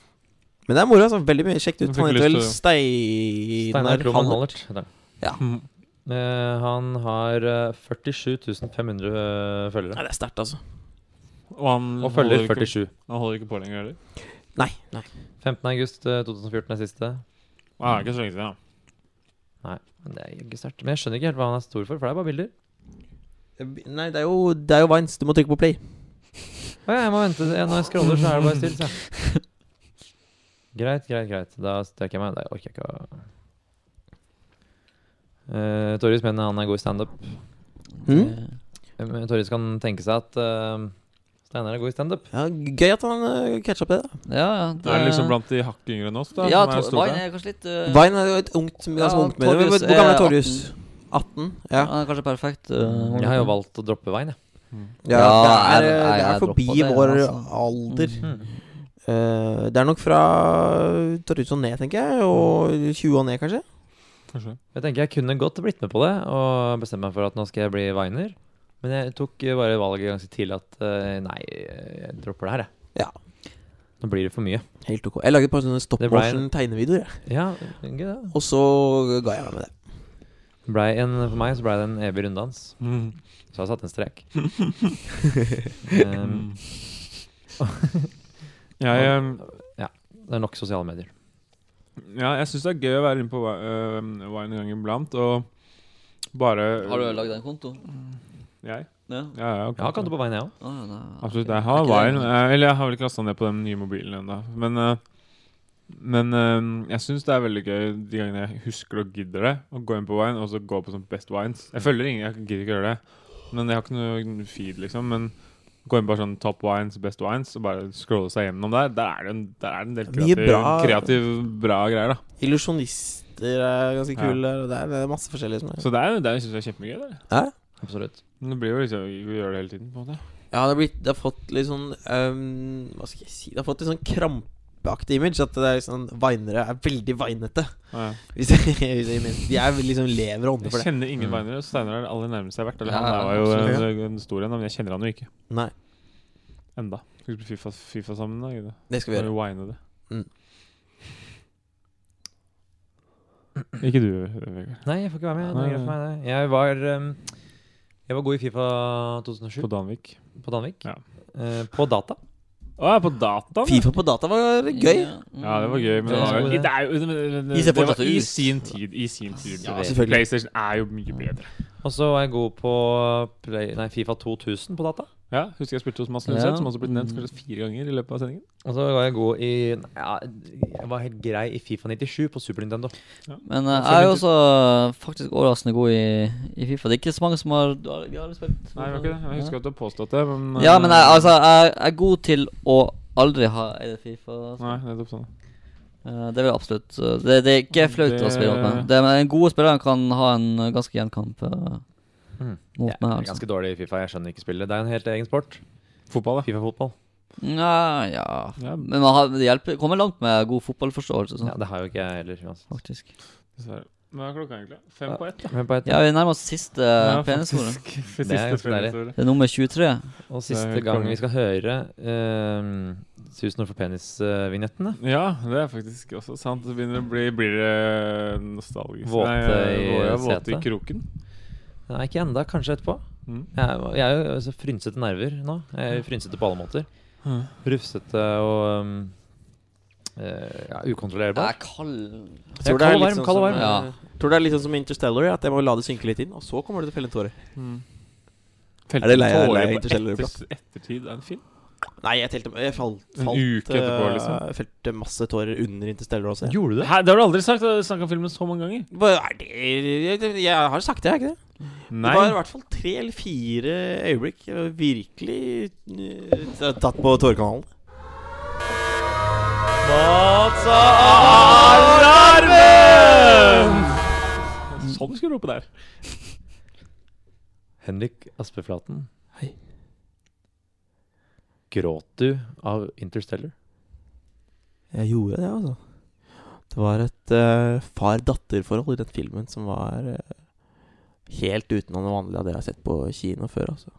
Men det er moro. Altså, veldig mye. Sjekk det
Jeg
ut.
fikk
Han heter vel
lyst
Steinar
Steinar
Kloman
Hallert.
Hallert. heter han.
Ja.
Mm.
Eh, han har eh, 47 500 eh, følgere.
Nei, det er sterkt, altså.
Og han
Og følger
holder ikke,
47.
Han holder ikke på lenger, heller?
Nei. nei.
15. august eh, 2014 er siste.
Nei, det er ikke så lenge siden, da.
Men det er ikke sterkt. Men jeg skjønner ikke helt hva han er stor for, for det er bare bilder.
Nei, det er jo, det er jo Vines. Du må trykke på play.
Å ja, jeg må vente. Ja, Når jeg scroller, så er det bare stilt. så jeg. Greit, greit, greit. Da strekker jeg meg. Nei, jeg orker ikke å Eh, Torjus mener han er god i standup.
Mm?
Eh, men Torjus kan tenke seg at eh, Steinar er god i standup.
Ja, gøy at han uh, catcha på det. da
Ja, ja.
Er det liksom blant de hakket yngre enn oss, da?
Ja,
som
to-
er store?
Vine er kanskje litt eh,
Vine er jo et ungt, ganske
Ja,
ungt medium. Hvor
Torjus eh,
hvor gammel
er
er Torjus? 18? Ja.
Han er kanskje perfekt.
Mm.
eh,
Jeg har jo valgt å droppe veien, jeg.
ja,
Ja,
det,
jeg-
er, eh,
jeg-
det
jeg
er forbi
dropper det,
vår
altså.
alder.
Mm.
Mhm. Eh, det er nok fra Torjus og ned, tenker jeg. Og 20 og ned, kanskje.
Kanskje.
Jeg tenker jeg kunne godt blitt med på det og bestemt meg for at nå skal jeg bli viner. Men jeg tok eh, bare valget ganske tidlig at eh, nei, jeg dropper det her, jeg.
Ja.
Nå blir det for mye.
Helt ok. Jeg laget bare sånne stop
Det ble en-
motion-tegnevideoer, jeg.
Ja, gøy det.
Og så ga jeg meg med det.
Blei en, for meg så blei det en evig runddans. Så jeg har satt en strek. um,
Mm. Jeg, um,
det er nok sosiale medier.
ja, jeg syns det er gøy å være inne på uh, Vine en gang iblant, og bare
Har du lagd en konto?
Jeg?
Ja.
Ja, ja,
Jeg har kanto på veien, jeg òg.
Å, nei,
Absolutt.
ok.
Jeg har
Er ikke det-
Vine. eh, Eller jeg har vel ikke lasta ned på den nye mobilen ennå. Men, eh, men eh, jeg syns det er veldig gøy de gangene jeg husker og gidder det, å gå inn på Vine og så gå på sånn Best Wines. Jeg følger ingen, jeg gidder ikke gjøre det. Men jeg har ikke noe feed, liksom. Men Gå inn på sånn Top Wines, Best Wines og bare scrolle seg gjennom der. Der er det en, der er det en del
Mye
kreativ,
bra-
kreativ, bra greier. da
Illusjonister er ganske
Ja.
kule. og Det, er, det er masse forskjellig. Som er.
Så det er, jo- det er, synes jeg er kjempegøy. Det.
Hæ?
Absolutt.
Men det blir jo liksom Vi gjør det hele tiden. på en måte
Ja, det har, blitt, det har fått litt sånn ehm, Hva skal jeg si Det har fått litt sånn krampeaktig image. At det er sånn vinere er veldig vinete.
ja.
Hvis jeg, hvis jeg mener. De er liksom lever og ånder
Jeg
for det.
kjenner ingen vinere. Steinar er det aller nærmeste jeg har vært. Eller
Ja,
han er jo
absolutt.
en, en stor en, men jeg kjenner han jo ikke.
Nei,
Enda. Skal vi spille FIFA, FIFA sammen da? Gide?
det skal vi
Bare
gjøre.
wine det.
Mm.
Ikke du, Vegard.
Nei, jeg får ikke være med. Det
Nei,
er greit for
nei.
meg, det. Jeg var ehm, jeg var god i Fifa 2007
På Danvik.
på Danvik.
Ja.
Eh, på data.
Å, jeg er på dataen! ja.
Fifa på data var gøy.
mm.
Ja, det var gøy, men
Det
det,
er
var,
så god
jo-
idé.
det er jo men- men-
I ser
det var
fortsatt
I
ut.
sin tid. I sin tid.
Ja, selvfølgelig.
PlayStation er jo mye bedre.
Og så var jeg god på play, nei, Fifa 2000 på data.
Ja, Husker jeg spilte hos Mads
Ja.
Lundseth, som også blitt nevnt kanskje fire ganger i løpet av sendingen.
Og så var jeg god i ja, Jeg var helt grei i Fifa 97 på Super Nintendo.
Men eh, jeg er jo også faktisk overraskende god i, i Fifa. Det er ikke så mange som har du har- Vi har respekt.
Nei, det var ikke det. Jeg husker at du har påstått det, men
Ja,
eh,
men jeg, altså, jeg jeg er god til å aldri ha eid et Fifa. Altså.
Nei, nettopp sånn.
Eh, Det vil jeg absolutt eh, Det, det er ikke flaut å
Det-
spille mot meg. Det, men en god spiller kan ha en eh, ganske jevn kamp eh,
Mm.
mot
Jeg
meg.
er
Altså.
ganske dårlig i Fifa. Jeg skjønner ikke spillet. Det er en helt egen sport.
Fotball, ja.
Fifa-fotball.
Nja, ja.
Ja.
Men man har, det hjelper, kommer langt med god fotballforståelse. og
Ja,
sånt,
det har jo ikke jeg heller. uansett.
Faktisk.
Dessverre. Hva er klokka egentlig? Fem på ett?
Men på et,
Ja, vi nærmer oss siste
Ja,
ja,
faktisk.
penishodet.
Siste
Eh, Det er ganske deilig.
penishodet.
Det er nummer 23.
Det
Og siste
er
gang
konge.
vi skal høre ehm, 'Tusen år for penis'-vignettene.
Ja, det er faktisk også sant. Så begynner det å bli blir det nostalgisk.
Våte
Nei, eh,
i
våte- Våte i
setet.
kroken.
Nei, ikke enda, Kanskje etterpå.
Mm.
Jeg er, jeg er jo så frynsete nerver nå. Jeg er frynsete på alle måter.
Mm.
Rufsete og ehm, eh, ja,
Jeg
ukontrollerbar.
er kald.
Jeg er
det er
kald og
litt
varm,
sånn
kald og
som,
varm.
Ja.
Tror det er litt sånn som Interstellar, at jeg må la det synke litt inn, og så kommer du til å felle en tåre.
Felte
Er det lei- er det
Mm. tårer
lei
på
Interstellar
etter, ettertid av en film?
Nei, jeg telte Jeg falt,
En
falt
uke etterpå,
eh,
liksom.
felte masse tårer under Interstellar også. Jeg.
Gjorde du det?
Hæ, det har du aldri sagt! Du har snakka om filmen så mange ganger.
Hva Er det jeg, jeg har sagt det, har jeg ikke det? Det var i hvert fall tre eller fire øyeblikk jeg var virkelig eh, tatt på tårekanalen.
Alarmen! Sånn skulle du rope der.
Henrik Aspeflaten. Gråt du av Interstellar?
Jeg gjorde det, altså. Det var et eh, far-datter-forhold i den filmen som var eh, helt utenom det vanlige av det jeg har sett på kino før. altså.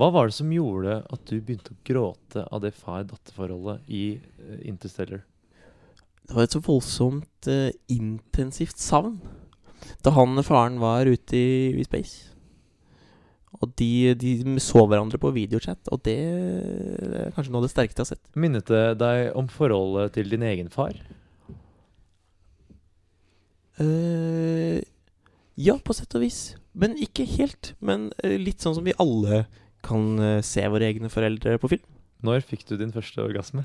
Hva var det som gjorde at du begynte å gråte av det far-datter-forholdet i eh, Interstellar?
Det var et så voldsomt eh, intensivt savn da han og faren var ute i, i space. Og de, de så hverandre på videochat, og det er kanskje noe av det sterkeste jeg har sett.
Minnet det deg om forholdet til din egen far?
Eh, ja, på sett og vis. Men ikke helt. Men eh, litt sånn som vi alle kan eh, se våre egne foreldre på film.
Når fikk du din første orgasme?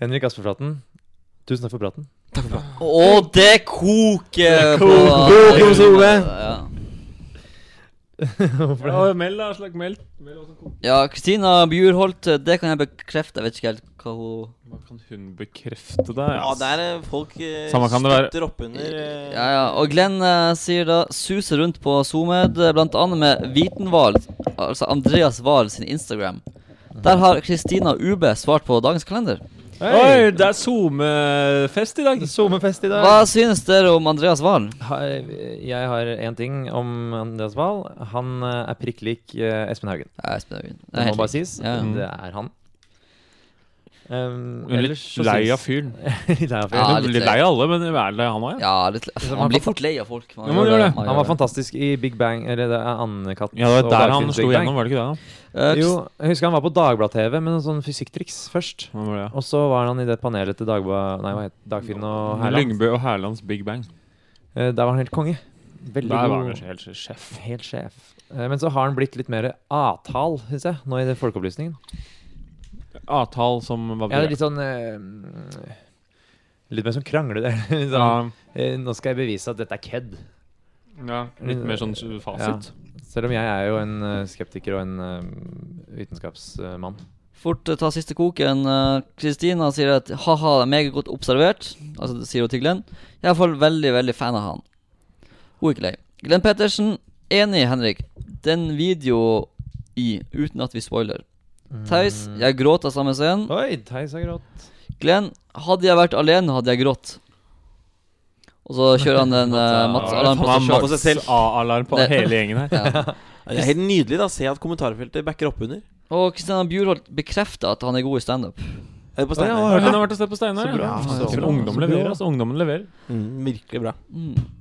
Henrik Aspeflaten, tusen takk for praten.
Å, det koker på
koker hos Ove.
Ja.
Ja, meld, da. Slakk meld. Meld hva som kom.
Ja, Kristina Bjurholt, det kan jeg bekrefte. Jeg vet ikke helt hva hun
Hva kan hun bekrefte deg?
Ja, der eh, folk eh,
Samme kan det være.
støtter oppunder eh,
Ja, ja. Og Glenn eh, sier da suser rundt på SoMed, eh, blant annet med Vitenval, altså Andreas Wahl sin Instagram. Der har Kristina UB svart på dagens kalender.
Oi, det er SoMe-fest i dag.
Sommerfest i dag!
Hva synes dere om Andreas Wahl?
Jeg har én ting om Andreas Wahl. Han eh, er prikk lik eh, Espen Haugen.
Nei, Espen Haugen. Det er
Det
helt
må bare
riktig.
sies.
Ja.
Det er han. Um,
Hun er litt lei av fyren.
litt lei av fyren.
Ja,
Hun er
litt
litt
lei.
lei av alle, men hun er lei han òg, ja.
Ja, litt, man blir fort lei av folk. Man
Ja, man gjør det.
man
Han var
gjør det.
fantastisk i Big Bang, eller det er Andekatt
Ja, det
og
var der han
Dagfinns
slo
Big Bang.
gjennom, var det ikke det? da?
Eh,
Jo, jeg husker han var på Dagblad-TV med noen sånn fysikktriks først.
Hva var det?
Og så var han i det panelet til Dagblad... Nei, hva het Dagfinn og Herland.
Lyngbø og Hærlands Big Bang.
Eh, Der var han helt konge. Veldig
Der var han
god.
jo helt sjef.
Helt sjef. Eh, Men så har han blitt litt mer A-tal, syns jeg, nå i det folkeopplysningen.
Avtal som hva
Ja,
betyr det?
det er litt sånn eh, Litt mer sånn krangle der. Litt sånn,
Ja,
eh, Nå skal jeg bevise at dette er kødd.
ja, litt mer sånn fasit.
Selv om jeg er jo en eh, skeptiker og en eh, vitenskapsmann.
Fort eh, ta siste koken. Eh, Kristina sier at ha-ha, det er meget godt observert. Altså, det sier hun til Glenn. Jeg er iallfall veldig, veldig fan av han. Hun er ikke lei. Glenn Pettersen, enig, Henrik. Den video i, uten at vi spoiler. Theis, jeg gråt av samme scenen.
Oi, Theis har grått.
Glenn, hadde jeg vært alene, hadde jeg grått. Og så kjører han en eh, Mats Alarm på seg
Mats
sjøl.
på seg selv.
A-alarm på
Det-
hele gjengen her.
Ja.
Det er helt nydelig da, se at kommentarfeltet backer opp under.
Og Kristian Bjurholt bekrefter at han er god i standup.
Er det på
Å, ja,
Steinar?
hun har vært og sett på Steinar.
bra.
ja.
Så
Til
bra.
Ungdom
Så bra.
leverer, altså. Ungdommen leverer.
Mm, virkelig bra.
Mm.